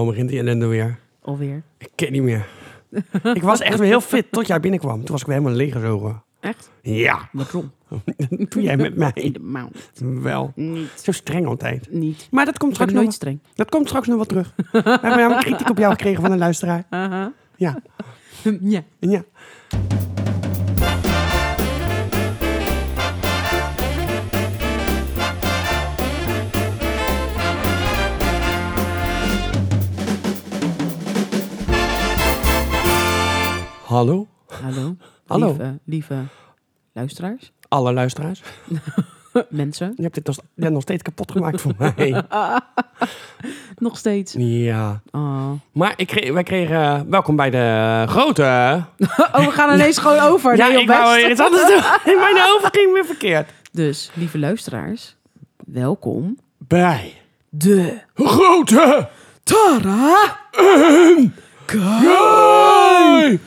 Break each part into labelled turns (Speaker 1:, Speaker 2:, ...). Speaker 1: hoe begint die ellende weer?
Speaker 2: Alweer.
Speaker 1: Ik ken niet meer. ik was echt weer heel fit tot jij binnenkwam. Toen was ik weer helemaal leeggezogen.
Speaker 2: Echt?
Speaker 1: Ja,
Speaker 2: Waarom?
Speaker 1: toen jij met
Speaker 2: In
Speaker 1: mij.
Speaker 2: de mount.
Speaker 1: Wel.
Speaker 2: Niet.
Speaker 1: Zo streng altijd.
Speaker 2: Niet.
Speaker 1: Maar dat komt
Speaker 2: Ik ben
Speaker 1: straks, nog,
Speaker 2: nooit streng.
Speaker 1: dat komt straks nog wel terug. We hebben namelijk kritiek op jou gekregen van een luisteraar.
Speaker 2: Aha.
Speaker 1: Ja,
Speaker 2: Hm, ja.
Speaker 1: ja. Hallo,
Speaker 2: Hallo.
Speaker 1: Hallo.
Speaker 2: Lieve, lieve luisteraars.
Speaker 1: alle luisteraars.
Speaker 2: Mensen.
Speaker 1: Je hebt dit nog, je hebt nog steeds kapot gemaakt voor mij.
Speaker 2: Nog steeds.
Speaker 1: Ja.
Speaker 2: Oh.
Speaker 1: Maar ik kreeg, wij kregen... eh, welkom bij de grote...
Speaker 2: oh, we gaan ineens gewoon over.
Speaker 1: ja,
Speaker 2: Nee, joh,
Speaker 1: ik wou
Speaker 2: best.
Speaker 1: weer iets anders doen. Mijn hoofd ging weer verkeerd.
Speaker 2: Dus, lieve luisteraars. Welkom.
Speaker 1: Bij
Speaker 2: De
Speaker 1: grote...
Speaker 2: Tara.
Speaker 1: Guy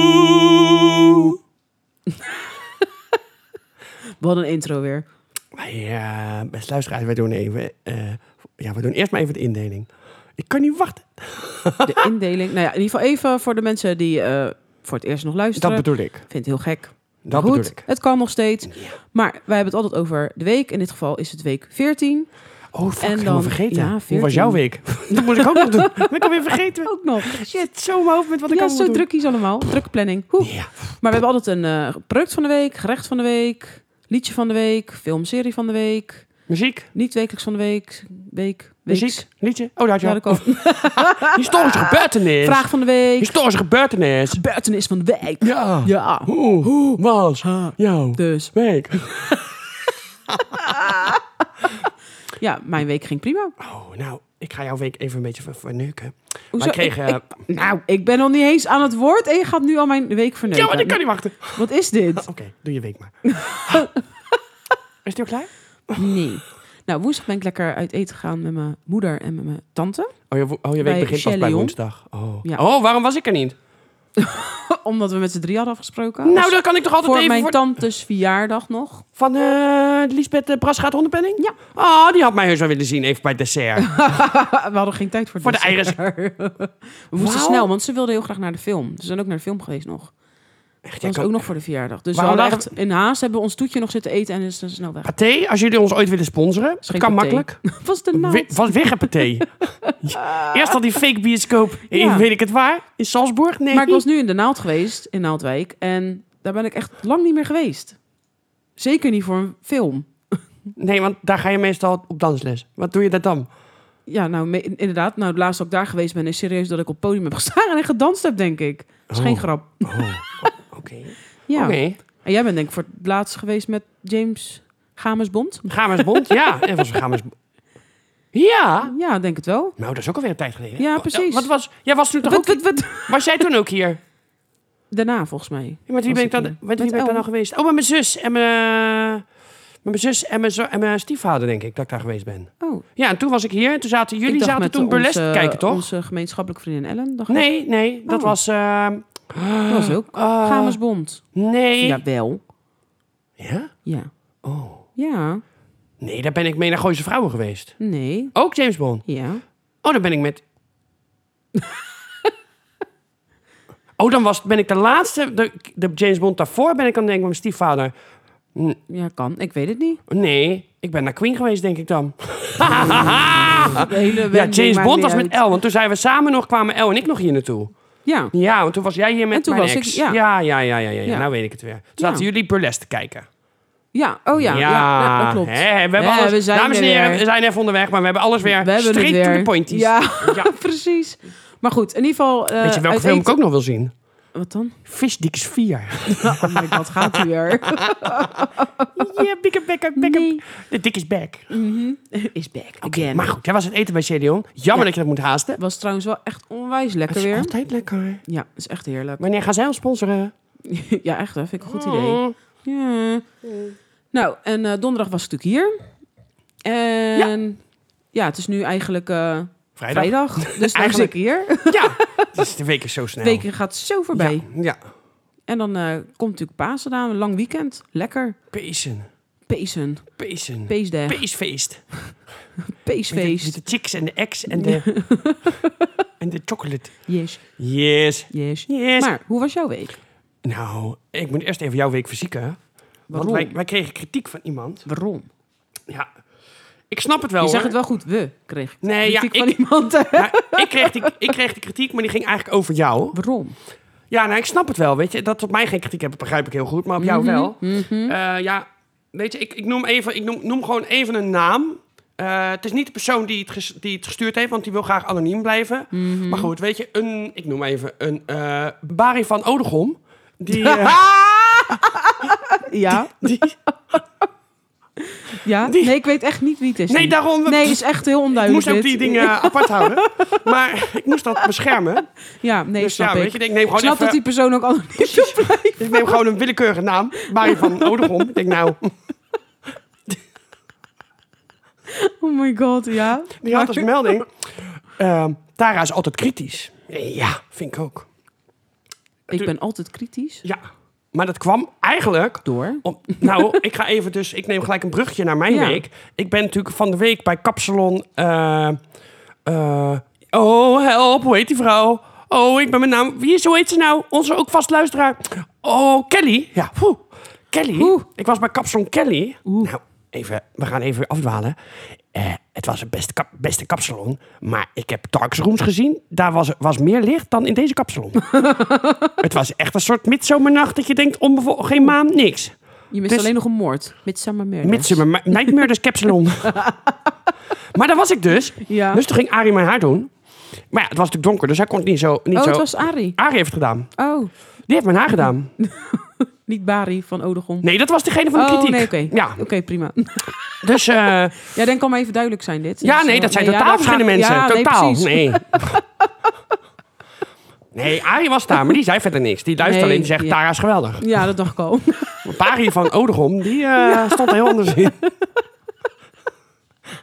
Speaker 1: Show.
Speaker 2: Wat een intro weer.
Speaker 1: Ja, eh, beste luisteraars, wij doen even. eh, ja, we doen eerst maar even de indeling. Ik kan niet wachten.
Speaker 2: De indeling. Nou ja, in ieder geval even voor de mensen die eh, voor het eerst nog
Speaker 1: Dat
Speaker 2: luisteren.
Speaker 1: bedoel ik.
Speaker 2: Ik vind het heel gek.
Speaker 1: Dat
Speaker 2: Goed,
Speaker 1: bedoel ik.
Speaker 2: het kan nog steeds.
Speaker 1: Ja.
Speaker 2: Maar wij hebben het altijd over de week. In dit geval is het week 14.
Speaker 1: Oh, fuck,
Speaker 2: En
Speaker 1: en helemaal
Speaker 2: dan-
Speaker 1: vergeten.
Speaker 2: ja,
Speaker 1: Hoe
Speaker 2: 14.
Speaker 1: was jouw week? dat moet ik ook nog doen. Dat ben ik alweer vergeten.
Speaker 2: Ook nog.
Speaker 1: Shit, zo in mijn hoofd met wat ik
Speaker 2: Ja,
Speaker 1: allemaal
Speaker 2: zo
Speaker 1: doe.
Speaker 2: druk is allemaal. Drukke planning. Hoe.
Speaker 1: Ja.
Speaker 2: Maar we hebben altijd een eh, product van de week, gerecht van de week, liedje van de week, filmserie van de week,
Speaker 1: Muziek,
Speaker 2: niet wekelijks van de week, week, weeks.
Speaker 1: muziek, liedje. Oh, daar had je
Speaker 2: Ja, Ah.
Speaker 1: al.
Speaker 2: dat kan.
Speaker 1: Historische gebeurtenis.
Speaker 2: Vraag van de week,
Speaker 1: Historische gebeurtenis.
Speaker 2: gebeurtenis van de week.
Speaker 1: Ja.
Speaker 2: Ja.
Speaker 1: Hoe, hoe was jouw
Speaker 2: Dus
Speaker 1: week?
Speaker 2: ja, mijn week ging prima.
Speaker 1: Oh, nou, ik ga jouw week even een beetje ver- verneuken. eh,
Speaker 2: Hoezo?
Speaker 1: Maar ik kreeg,
Speaker 2: Ik- ik- nou, ik ben nog niet eens aan het woord en je gaat nu al mijn week verneuken.
Speaker 1: Ja, maar ik kan niet wachten.
Speaker 2: Wat is dit?
Speaker 1: Oké, doe je week maar. Is die al klaar?
Speaker 2: Nee. Nou, woensdag ben ik lekker uit eten gegaan met mijn moeder en met mijn tante.
Speaker 1: Oh, je, wo- oh, je week
Speaker 2: Bij
Speaker 1: begint pas
Speaker 2: Shelley,
Speaker 1: bij
Speaker 2: hoor.
Speaker 1: woensdag. Oh.
Speaker 2: Ja.
Speaker 1: oh, waarom was ik er niet?
Speaker 2: Omdat we met z'n drie hadden afgesproken.
Speaker 1: Nou, dan kan ik toch altijd
Speaker 2: voor
Speaker 1: even...
Speaker 2: mijn
Speaker 1: Voor...
Speaker 2: tantes verjaardag nog.
Speaker 1: Van eh Lisbeth uh, Brasgaat Hondenpenning?
Speaker 2: Ja.
Speaker 1: Oh, die had mij heus wel willen zien, even bij het dessert.
Speaker 2: We hadden geen tijd voor het
Speaker 1: Voor de
Speaker 2: dessert. We moesten
Speaker 1: Wauw.
Speaker 2: snel, want ze wilden heel graag naar de film. Ze zijn ook naar de film geweest nog.
Speaker 1: Echt,
Speaker 2: Dat was
Speaker 1: ik
Speaker 2: ook nog voor de verjaardag. Dus we
Speaker 1: Waarom
Speaker 2: hadden echt in haast hebben we ons toetje nog zitten eten en is ze snel weg.
Speaker 1: Pathé, als jullie ons ooit willen sponsoren, het
Speaker 2: Geen
Speaker 1: kan
Speaker 2: pathé.
Speaker 1: makkelijk.
Speaker 2: Was de naam?
Speaker 1: We- Van Wiggenpathé. Eerst al die fake bioscoop, in,
Speaker 2: Ja.
Speaker 1: weet ik het waar, in Salzburg. Nee.
Speaker 2: Maar ik was nu in de Naald geweest, in Naaldwijk. En daar ben ik echt lang niet meer geweest. Zeker niet voor een film.
Speaker 1: nee, want daar ga je meestal op dansles. Wat doe je daar dan?
Speaker 2: Ja, nou me- inderdaad. Nou, het laatste dat ik daar geweest ben is serieus dat ik op het podium heb gestaan en gedanst heb, denk ik. Dat is
Speaker 1: Oh.
Speaker 2: geen grap.
Speaker 1: Oké.
Speaker 2: Ja.
Speaker 1: Oké.
Speaker 2: En jij bent denk ik voor het laatst geweest met James Gamersbond.
Speaker 1: Gamersbond, ja. Dat was een Gamersbond. Ja.
Speaker 2: Ja, denk het wel.
Speaker 1: Nou, dat is ook alweer een tijd geleden. hè?
Speaker 2: Ja,
Speaker 1: Wat-
Speaker 2: precies.
Speaker 1: Wat was... Jij was toen toch
Speaker 2: Wat,
Speaker 1: ook...
Speaker 2: wat, wat?
Speaker 1: Was jij toen ook hier?
Speaker 2: Daarna volgens mij.
Speaker 1: Ja, Met wie
Speaker 2: Was
Speaker 1: ben ik
Speaker 2: ik
Speaker 1: dan,
Speaker 2: hier.
Speaker 1: met wie ben
Speaker 2: Met
Speaker 1: ik dan
Speaker 2: El.
Speaker 1: al geweest? Oh, met mijn zus en mijn... Met mijn zus en mijn, zo- en mijn stiefvader, denk ik, dat ik daar geweest ben.
Speaker 2: Oh,
Speaker 1: Ja, en toen was ik hier. En toen zaten
Speaker 2: ik
Speaker 1: jullie
Speaker 2: dacht
Speaker 1: zaten
Speaker 2: met
Speaker 1: toen
Speaker 2: onze-
Speaker 1: burlesque te kijken, toch?
Speaker 2: Onze gemeenschappelijke vriendin Ellen. dacht ik.
Speaker 1: Nee, nee. Dat
Speaker 2: Oh.
Speaker 1: was... ehm,
Speaker 2: dat was ook.
Speaker 1: eh,
Speaker 2: Gamersbond.
Speaker 1: Nee. Ja.
Speaker 2: Jawel. Ja.
Speaker 1: Oh.
Speaker 2: Ja.
Speaker 1: Nee, daar ben ik mee naar Gooise Vrouwen geweest.
Speaker 2: Nee.
Speaker 1: Ook James Bond.
Speaker 2: Ja.
Speaker 1: Oh, dan ben ik met... oh, dan was, ben ik de laatste... De, de James Bond daarvoor ben ik dan denk ik met mijn stiefvader.
Speaker 2: Ja, kan. Ik weet het niet.
Speaker 1: Nee, ik ben naar Queen geweest, denk ik dan.
Speaker 2: De hele
Speaker 1: Ah. Ja,
Speaker 2: wending
Speaker 1: James
Speaker 2: maakt
Speaker 1: Bond
Speaker 2: niet
Speaker 1: was
Speaker 2: uit.
Speaker 1: met Elle. Want toen zijn we samen nog, kwamen Elle en ik nog hier naartoe.
Speaker 2: Ja.
Speaker 1: Ja, want toen was jij hier met
Speaker 2: En toen
Speaker 1: mijn
Speaker 2: was ik-
Speaker 1: ex.
Speaker 2: ja.
Speaker 1: Ja, ja, ja, ja, ja, ja.
Speaker 2: Ja.
Speaker 1: Nou weet ik het weer. Toen zaten
Speaker 2: Ja.
Speaker 1: jullie burlesque te kijken.
Speaker 2: Ja. Oh ja. Ja, ja, dat klopt.
Speaker 1: Hè, we hebben
Speaker 2: Ja,
Speaker 1: alles,
Speaker 2: we zijn
Speaker 1: dames en
Speaker 2: er
Speaker 1: heren,
Speaker 2: weer.
Speaker 1: we zijn even onderweg, maar we hebben alles weer
Speaker 2: We hebben het
Speaker 1: straight to
Speaker 2: weer.
Speaker 1: the pointies.
Speaker 2: Ja,
Speaker 1: Ja.
Speaker 2: precies. Maar goed, in ieder geval... eh,
Speaker 1: Weet je welke
Speaker 2: uit
Speaker 1: film ik
Speaker 2: eten-
Speaker 1: ook nog wil zien?
Speaker 2: Wat dan?
Speaker 1: Visdikkers 4.
Speaker 2: Oh my god, gaat u weer.
Speaker 1: Ja, big up, back up, back up.
Speaker 2: Nee.
Speaker 1: De dik is back.
Speaker 2: Is back again.
Speaker 1: Maar goed, dat was het eten bij Cedeon. Jammer dat je dat moet haasten.
Speaker 2: Was trouwens wel echt onwijs
Speaker 1: Het
Speaker 2: lekker
Speaker 1: is
Speaker 2: weer.
Speaker 1: altijd lekker.
Speaker 2: Ja, is echt heerlijk.
Speaker 1: Wanneer gaan zij ons sponsoren?
Speaker 2: Ja, echt hè. Vind ik een goed idee.
Speaker 1: Mm.
Speaker 2: Ja. Nou, en eh, donderdag was ik natuurlijk hier. En ja, het is nu eigenlijk eh,
Speaker 1: Vrijdag.
Speaker 2: vrijdag. Dus daar zit
Speaker 1: Eigenlijk.
Speaker 2: ik hier.
Speaker 1: Ja, dus de week is zo snel.
Speaker 2: De week gaat zo voorbij.
Speaker 1: Ja,
Speaker 2: En dan eh, komt natuurlijk Pasen aan. Een lang weekend. Lekker.
Speaker 1: Pezen.
Speaker 2: Peesen.
Speaker 1: Peesen.
Speaker 2: Peesdag.
Speaker 1: Peesfeest. Met de, met
Speaker 2: Peesfeest.
Speaker 1: de chicks en de ex en de, en de chocolate.
Speaker 2: Yes,
Speaker 1: Yes.
Speaker 2: yes.
Speaker 1: Yes.
Speaker 2: Maar, hoe was jouw week?
Speaker 1: Nou, ik moet eerst even jouw week verzieken. Want
Speaker 2: Waarom?
Speaker 1: wij, wij kregen kritiek van iemand.
Speaker 2: Waarom?
Speaker 1: Ja. Ik snap het wel.
Speaker 2: Je zag
Speaker 1: hoor.
Speaker 2: het wel goed. We kregen
Speaker 1: Oh, Nee, ja,
Speaker 2: kritiek van
Speaker 1: ik,
Speaker 2: iemand.
Speaker 1: ja, ik, kreeg die, ik kreeg die kritiek, maar die ging eigenlijk over jou.
Speaker 2: Waarom?
Speaker 1: Ja, nou, ik snap het wel. Weet je, dat op mij geen kritiek hebben, begrijp ik heel goed. Maar op jou wel.
Speaker 2: Mhm.
Speaker 1: Eh, ja, weet je, ik, ik, noem, even, ik noem, noem gewoon even een naam. Eh, het is niet de persoon die het, ges- die het gestuurd heeft, want die wil graag anoniem blijven.
Speaker 2: Mhm.
Speaker 1: Maar goed, weet je, een, ik noem even een eh Barry van Odegom. Die, eh,
Speaker 2: Ja,
Speaker 1: die,
Speaker 2: ja.
Speaker 1: Die-
Speaker 2: Nee, ik weet echt niet wie het is.
Speaker 1: nee, daarom.
Speaker 2: Nee, is echt heel
Speaker 1: ik
Speaker 2: onduidelijk.
Speaker 1: moest ook
Speaker 2: dit.
Speaker 1: die dingen apart houden. Maar ik moest dat beschermen.
Speaker 2: Ja, nee,
Speaker 1: dus
Speaker 2: snap
Speaker 1: ja,
Speaker 2: ik.
Speaker 1: weet je, ik denk, neem
Speaker 2: Ik
Speaker 1: gewoon,
Speaker 2: snap
Speaker 1: even,
Speaker 2: dat die persoon ook al
Speaker 1: ik neem gewoon een willekeurige naam. Barry van Odegom. Ik denk, nou,
Speaker 2: Oh my god, ja.
Speaker 1: die had als melding. ehm, Tara is altijd kritisch. Ja, vind ik ook.
Speaker 2: Ik ben altijd kritisch.
Speaker 1: Ja, maar dat kwam eigenlijk
Speaker 2: Door.
Speaker 1: om. Nou, ik ga even dus. Ik neem gelijk een brugje naar mijn
Speaker 2: Ja.
Speaker 1: week. Ik ben natuurlijk van de week bij Kapsalon. eh, eh, oh, help, hoe heet die vrouw? Oh, ik ben mijn naam. Wie is, hoe heet ze nou? Onze ook vast luisteraar. Oh, Kelly. Ja, poeh. Kelly.
Speaker 2: Oeh.
Speaker 1: Ik was bij Kapsalon Kelly.
Speaker 2: Oeh.
Speaker 1: Nou, even, we gaan even afdwalen. Eh, het was een beste, kap, beste kapsalon. Maar ik heb Darks Rooms gezien. Daar was, was meer licht dan in deze kapsalon. het was echt een soort midzomernacht dat je denkt, onbevo- geen maan, niks.
Speaker 2: Je mist
Speaker 1: Dus-
Speaker 2: alleen nog een moord. Met Summer Murders.
Speaker 1: Midsummer Night Murders Capsalon. maar daar was ik dus.
Speaker 2: Ja.
Speaker 1: Dus toen ging Arie mijn haar doen. Maar ja, het was natuurlijk donker, dus hij kon het niet zo... Niet
Speaker 2: oh,
Speaker 1: zo.
Speaker 2: het was Arie.
Speaker 1: Arie heeft het gedaan.
Speaker 2: Oh,
Speaker 1: Die heeft mijn haar gedaan.
Speaker 2: niet Bari van Odegom.
Speaker 1: Nee, dat was degene van de
Speaker 2: oh,
Speaker 1: kritiek.
Speaker 2: nee, oké.
Speaker 1: Ja,
Speaker 2: Oké, prima.
Speaker 1: dus... eh,
Speaker 2: Ja, dan kan maar even duidelijk zijn dit.
Speaker 1: Ja,
Speaker 2: Dus,
Speaker 1: nee,
Speaker 2: eh,
Speaker 1: dat zijn
Speaker 2: nee, ja,
Speaker 1: totaal
Speaker 2: daar
Speaker 1: verschillende
Speaker 2: gaat-
Speaker 1: mensen.
Speaker 2: Ja, nee,
Speaker 1: totaal.
Speaker 2: precies.
Speaker 1: Nee. Nee, Arie was daar, maar die zei verder niks. Die luisterde
Speaker 2: Nee,
Speaker 1: alleen en zegt,
Speaker 2: ja.
Speaker 1: Tara is geweldig.
Speaker 2: Ja, dat dacht ik al.
Speaker 1: Maar Pari van Odegom, die eh, stond er heel anders in.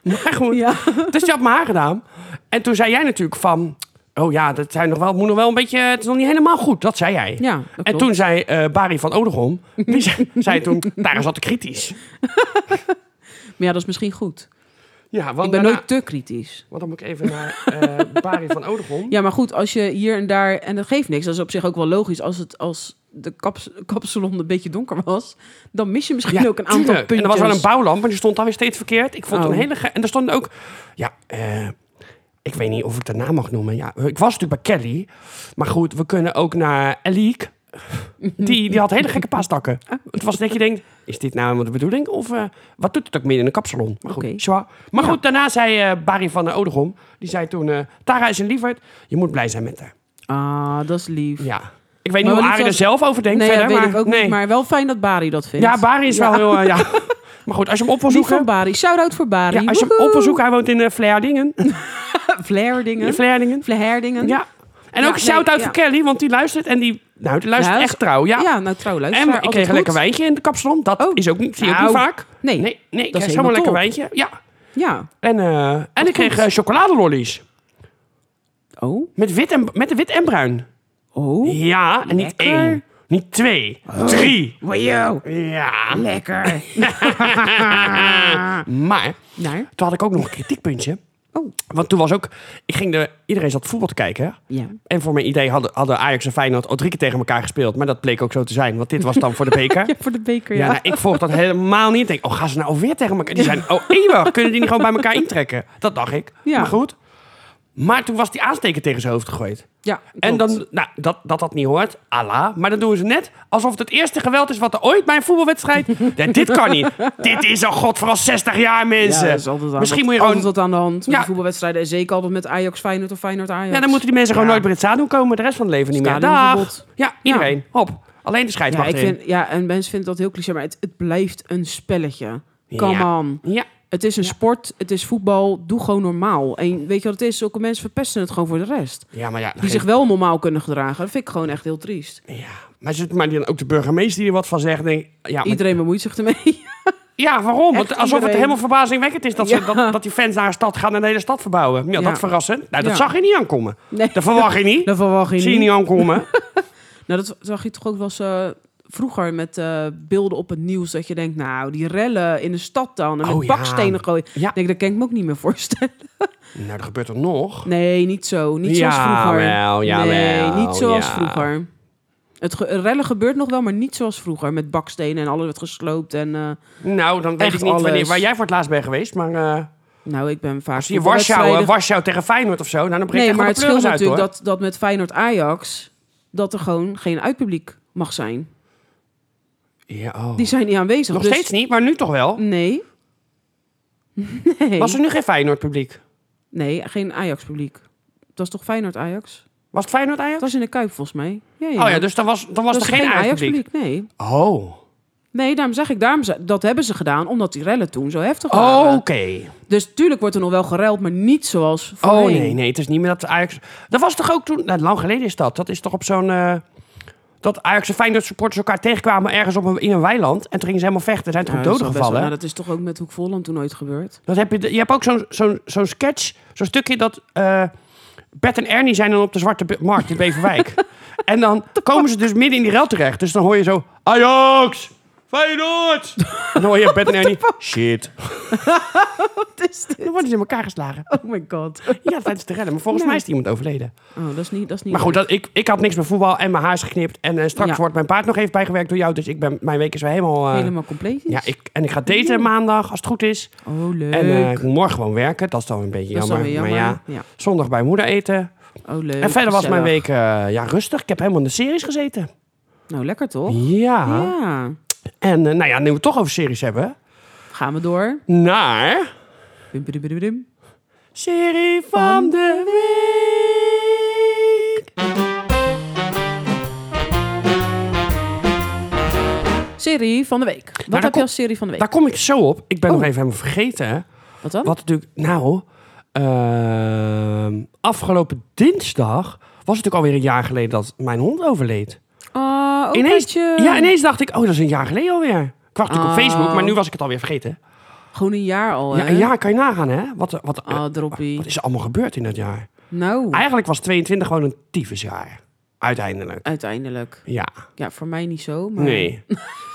Speaker 1: Maar goed,
Speaker 2: Ja.
Speaker 1: dus die had me haar gedaan. En toen zei jij natuurlijk van... Oh ja, dat zijn nog wel, moet nog wel een beetje... Het is nog niet helemaal goed, dat zei jij.
Speaker 2: Ja, dat
Speaker 1: en
Speaker 2: klopt.
Speaker 1: toen zei eh Barry van Odegom... Die zei, zei toen, Tara zat te kritisch.
Speaker 2: Maar ja, dat is misschien goed.
Speaker 1: Ja, want,
Speaker 2: Ik ben
Speaker 1: daarna-
Speaker 2: nooit te kritisch.
Speaker 1: want dan moet ik even naar eh Barry van Odegom.
Speaker 2: Ja, maar goed, als je hier en daar... En dat geeft niks. Dat is op zich ook wel logisch. Als, het, als de kaps, kapsalon een beetje donker was... dan mis je misschien ook een aantal
Speaker 1: tuurlijk.
Speaker 2: puntjes.
Speaker 1: En er was wel een bouwlamp, maar die stond alweer steeds verkeerd. Ik vond het
Speaker 2: Oh.
Speaker 1: een hele... ge- En er stonden ook... Ja, eh, ik weet niet of ik de naam mag noemen. Ja, ik was natuurlijk bij Kelly. Maar goed, we kunnen ook naar Eliek. Die, die had hele gekke paastakken. Het was dat je denkt, is dit nou helemaal de bedoeling? Of eh, wat doet het ook midden in een kapsalon? Maar goed,
Speaker 2: Oké.
Speaker 1: zwaar. Maar goed, daarna zei eh Barry van der Odegom... Die zei toen, eh, Tara is een lieverd. Je moet blij zijn met haar.
Speaker 2: Ah, dat is lief.
Speaker 1: Ja. Ik weet
Speaker 2: Maar
Speaker 1: niet hoe
Speaker 2: wel
Speaker 1: Arie
Speaker 2: niet
Speaker 1: er zelf over denkt
Speaker 2: nee,
Speaker 1: verder.
Speaker 2: dat weet
Speaker 1: maar,
Speaker 2: ik ook
Speaker 1: nee.
Speaker 2: niet. Maar wel fijn dat Bari dat vindt.
Speaker 1: Ja, Barry is wel heel... eh, ja. Maar goed, als je hem op wil
Speaker 2: Lief
Speaker 1: zoeken...
Speaker 2: van Bari. Shout-out voor Bari.
Speaker 1: Ja, als je hem op wil zoeken, hij woont in eh Vlaardingen.
Speaker 2: Flair-dingen.
Speaker 1: In Vlaardingen.
Speaker 2: Flair-dingen.
Speaker 1: Ja. En
Speaker 2: Ja,
Speaker 1: ook een shout-out
Speaker 2: nee,
Speaker 1: voor Kelly, want die luistert en die... Nou, die luistert
Speaker 2: Ja,
Speaker 1: echt trouw, ja.
Speaker 2: nou trouw,
Speaker 1: en
Speaker 2: luisteraar.
Speaker 1: we- ik kreeg een
Speaker 2: altijd
Speaker 1: lekker
Speaker 2: goed.
Speaker 1: wijntje in de kapsalon. Dat
Speaker 2: Oh.
Speaker 1: is ook niet, zie je ook
Speaker 2: Nou,
Speaker 1: niet vaak.
Speaker 2: Nee,
Speaker 1: Nee, nee ik
Speaker 2: Dat
Speaker 1: kreeg
Speaker 2: is
Speaker 1: zomaar lekker
Speaker 2: helemaal
Speaker 1: wijntje. Ja.
Speaker 2: ja.
Speaker 1: En, eh, en ik kreeg
Speaker 2: goed.
Speaker 1: eh, chocoladolollies.
Speaker 2: Oh,
Speaker 1: Met wit, en, met de wit en bruin.
Speaker 2: oh.
Speaker 1: Ja, en niet
Speaker 2: Lekker. Oh.
Speaker 1: één. Niet twee. Drie.
Speaker 2: Wow,
Speaker 1: Ja.
Speaker 2: lekker.
Speaker 1: Maar
Speaker 2: Naar?
Speaker 1: toen had ik ook nog een kritiekpuntje.
Speaker 2: Oh,
Speaker 1: Want toen was ook... Ik ging de, iedereen zat voetbal te kijken. hè.
Speaker 2: ja.
Speaker 1: En voor mijn idee hadden, hadden Ajax en Feyenoord al drie keer tegen elkaar gespeeld. Maar dat bleek ook zo te zijn, want dit was dan voor de beker.
Speaker 2: Ja, voor de beker,
Speaker 1: Ja,
Speaker 2: ja.
Speaker 1: nou, ik volg dat helemaal niet. Ik denk, oh, gaan ze nou alweer tegen elkaar? Die zijn, oh, eeuwig, kunnen die niet gewoon bij elkaar intrekken? Dat dacht ik.
Speaker 2: Ja.
Speaker 1: Maar goed. Maar toen was die aansteker tegen zijn hoofd gegooid.
Speaker 2: Ja,
Speaker 1: En
Speaker 2: klopt.
Speaker 1: dan, nou, dat dat, dat niet hoort, Allah. Maar dan doen ze net alsof het het eerste geweld is wat er ooit bij een voetbalwedstrijd... Nee, dit kan niet. Dit is al godveral 60 jaar,
Speaker 2: Ja,
Speaker 1: mensen.
Speaker 2: dat is altijd aan
Speaker 1: eh, Misschien moet je
Speaker 2: altijd
Speaker 1: gewoon...
Speaker 2: wat aan de hand met
Speaker 1: Ja.
Speaker 2: de voetbalwedstrijden. En zeker altijd met Ajax, Feyenoord of Feyenoord, Ajax.
Speaker 1: Ja, dan moeten die mensen gewoon nooit bij het stadion komen. De rest van het leven niet meer. Dag.
Speaker 2: Stadionverbod.
Speaker 1: Ja, iedereen. Hop. Alleen de
Speaker 2: Ja,
Speaker 1: scheidsrechter.
Speaker 2: ik vind, ja, en mensen vinden dat heel cliché, maar het, het blijft een spelletje. Come
Speaker 1: Ja.
Speaker 2: on.
Speaker 1: Ja,
Speaker 2: Het is een sport, het is voetbal, doe gewoon normaal. En weet je wat het is? Zulke mensen verpesten het gewoon voor de rest.
Speaker 1: ja maar ja. nou,
Speaker 2: Die zich wel normaal kunnen gedragen. Dat vind ik gewoon echt heel triest.
Speaker 1: ja. Maar, zit, maar die, ook de burgemeester die er wat van zegt. Denk, ik, ja, maar-
Speaker 2: Iedereen bemoeit zich ermee.
Speaker 1: ja, waarom? Want
Speaker 2: Echt
Speaker 1: alsof het
Speaker 2: iedereen.
Speaker 1: helemaal verbazingwekkend is dat, ze, dat, dat die fans naar een stad gaan en de hele stad verbouwen. Ja,
Speaker 2: Ja.
Speaker 1: dat verrassend. Nou, dat
Speaker 2: Ja.
Speaker 1: zag je niet aankomen.
Speaker 2: Nee,
Speaker 1: Dat verwacht je niet.
Speaker 2: dat verwacht je
Speaker 1: Zie je
Speaker 2: niet.
Speaker 1: niet aankomen.
Speaker 2: Nou, dat zag je toch ook wel eens eh, vroeger met eh, beelden op het nieuws dat je denkt, nou, die rellen in de stad dan en met
Speaker 1: Oh, ja.
Speaker 2: bakstenen gooien.
Speaker 1: Ja.
Speaker 2: Ik denk, dat kan ik me ook niet meer voorstellen.
Speaker 1: Nou, dat gebeurt er nog.
Speaker 2: Nee, niet zo. Niet zoals
Speaker 1: Ja,
Speaker 2: vroeger.
Speaker 1: wel, ja,
Speaker 2: nee,
Speaker 1: wel,
Speaker 2: niet zoals
Speaker 1: ja.
Speaker 2: vroeger. Het ge- rellen gebeurt nog wel, maar niet zoals vroeger. Met bakstenen en alles werd gesloopt. En, eh,
Speaker 1: Nou, dan weet
Speaker 2: Echt
Speaker 1: ik niet wanneer,
Speaker 2: alles.
Speaker 1: waar jij voor het laatst bent geweest. Maar eh,
Speaker 2: nou, ik ben vaak...
Speaker 1: als je Warschau,
Speaker 2: voetbalwedstrijden-
Speaker 1: eh, Warschau tegen Feyenoord of zo, nou, dan breekt
Speaker 2: Nee,
Speaker 1: echt
Speaker 2: maar
Speaker 1: wel
Speaker 2: het
Speaker 1: de pleuris
Speaker 2: scheelt
Speaker 1: uit, hoor.
Speaker 2: natuurlijk dat, dat met Feyenoord-Ajax... dat er gewoon geen uitpubliek mag zijn.
Speaker 1: Ja, oh.
Speaker 2: Die zijn niet aanwezig.
Speaker 1: Nog
Speaker 2: dus-
Speaker 1: steeds niet, maar nu toch wel.
Speaker 2: Nee. Nee.
Speaker 1: Was er nu geen Feyenoord publiek?
Speaker 2: Nee, geen Ajax-publiek. Het was toch Feyenoord-Ajax?
Speaker 1: Was het Feyenoord
Speaker 2: Het
Speaker 1: Ajax?
Speaker 2: was in de Kuip, volgens mij. Ja,
Speaker 1: Oh ja, dus dan was, dan was
Speaker 2: Dat
Speaker 1: er geen Ajax publiek.
Speaker 2: Nee.
Speaker 1: Oh,
Speaker 2: Nee, daarom zeg ik, daarom, ze- dat hebben ze gedaan, omdat die rellen toen zo heftig
Speaker 1: Oh, oké.
Speaker 2: waren. Dus tuurlijk wordt er nog wel gereld, maar niet zoals
Speaker 1: Oh
Speaker 2: voorheen.
Speaker 1: nee, nee, het is niet meer dat Ajax... Dat was toch ook toen... Nou, lang geleden is dat. Dat is toch op zo'n... eh, dat Ajax en Feyenoord supporters elkaar tegenkwamen ergens op een, in een weiland. En toen gingen ze helemaal vechten. Er zijn
Speaker 2: Nou,
Speaker 1: toch
Speaker 2: dat is
Speaker 1: doden
Speaker 2: toch best wel-
Speaker 1: gevallen?
Speaker 2: nou, dat is toch ook met Hoek Volland toen ooit gebeurd?
Speaker 1: Dat heb je, de- je hebt ook zo'n zo'n zo'n sketch, zo'n stukje dat eh Bert en Ernie zijn dan op de Zwarte Be- Markt in Beverwijk. en dan komen ze dus midden in die rel terecht. Dus dan hoor je zo, Ajax, Feyenoord. en dan hoor je Bert en Ernie, shit.
Speaker 2: Wat is dit?
Speaker 1: Dan worden ze in elkaar geslagen.
Speaker 2: Oh my god.
Speaker 1: Ja, tijdens de rellen. Maar volgens
Speaker 2: Nee.
Speaker 1: mij is er iemand overleden.
Speaker 2: Oh, dat is niet... Dat is niet
Speaker 1: Maar goed, dat, ik, ik had niks met voetbal en mijn haar is geknipt. En eh, straks
Speaker 2: Ja.
Speaker 1: wordt mijn paard nog even bijgewerkt door jou. Dus ik ben, mijn week is weer helemaal... eh,
Speaker 2: Helemaal compleet is.
Speaker 1: ja, ik, en ik ga daten maandag, als het goed is.
Speaker 2: Oh, leuk.
Speaker 1: En eh, ik moet morgen gewoon werken. Dat is dan een beetje
Speaker 2: dat is dan
Speaker 1: jammer.
Speaker 2: weer jammer.
Speaker 1: Maar ja, zondag bij moeder eten.
Speaker 2: Oh, leuk.
Speaker 1: en verder was
Speaker 2: gezellig.
Speaker 1: mijn week eh, ja, rustig. Ik heb helemaal in de series gezeten.
Speaker 2: Nou, lekker toch?
Speaker 1: Ja.
Speaker 2: Ja.
Speaker 1: En eh, nou ja, nu we het toch over series hebben.
Speaker 2: Gaan we door.
Speaker 1: Naar
Speaker 2: Bim, bim, bim, bim.
Speaker 1: serie van de week.
Speaker 2: Serie van de week. Wat
Speaker 1: Nou, daar
Speaker 2: heb je
Speaker 1: kom-
Speaker 2: als serie van de week?
Speaker 1: Daar kom ik zo op. Ik ben
Speaker 2: Oh.
Speaker 1: nog even helemaal vergeten.
Speaker 2: Wat dan?
Speaker 1: Wat natuurlijk, nou, ehm, afgelopen dinsdag was het natuurlijk alweer een jaar geleden dat mijn hond overleed.
Speaker 2: Ah, oh,
Speaker 1: Ineens-
Speaker 2: Katje.
Speaker 1: Ja, ineens dacht ik, oh, dat is een jaar geleden alweer. Ik wacht natuurlijk op
Speaker 2: Oh.
Speaker 1: Facebook, maar nu was ik het alweer vergeten.
Speaker 2: Gewoon een jaar al,
Speaker 1: Ja,
Speaker 2: hè?
Speaker 1: een jaar kan je nagaan, hè? Wat, wat, eh,
Speaker 2: Ah, droppie.
Speaker 1: wat is er allemaal gebeurd in dat jaar?
Speaker 2: Nou,
Speaker 1: Eigenlijk was 22 gewoon een tyfusjaar. Uiteindelijk.
Speaker 2: uiteindelijk.
Speaker 1: Ja.
Speaker 2: Ja, voor mij niet zo, maar
Speaker 1: Nee.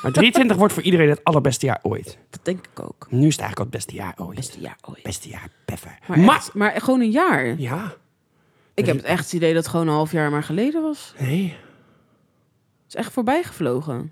Speaker 1: Maar 23 wordt voor iedereen het allerbeste jaar ooit.
Speaker 2: dat denk ik ook.
Speaker 1: Nu is het eigenlijk al het beste jaar ooit.
Speaker 2: Beste jaar ooit.
Speaker 1: Beste jaar, peffer.
Speaker 2: Maar, echt, maar gewoon een jaar.
Speaker 1: Ja.
Speaker 2: Ik heb het echt het idee dat het gewoon een half jaar maar geleden was.
Speaker 1: Nee.
Speaker 2: Het is echt voorbijgevlogen.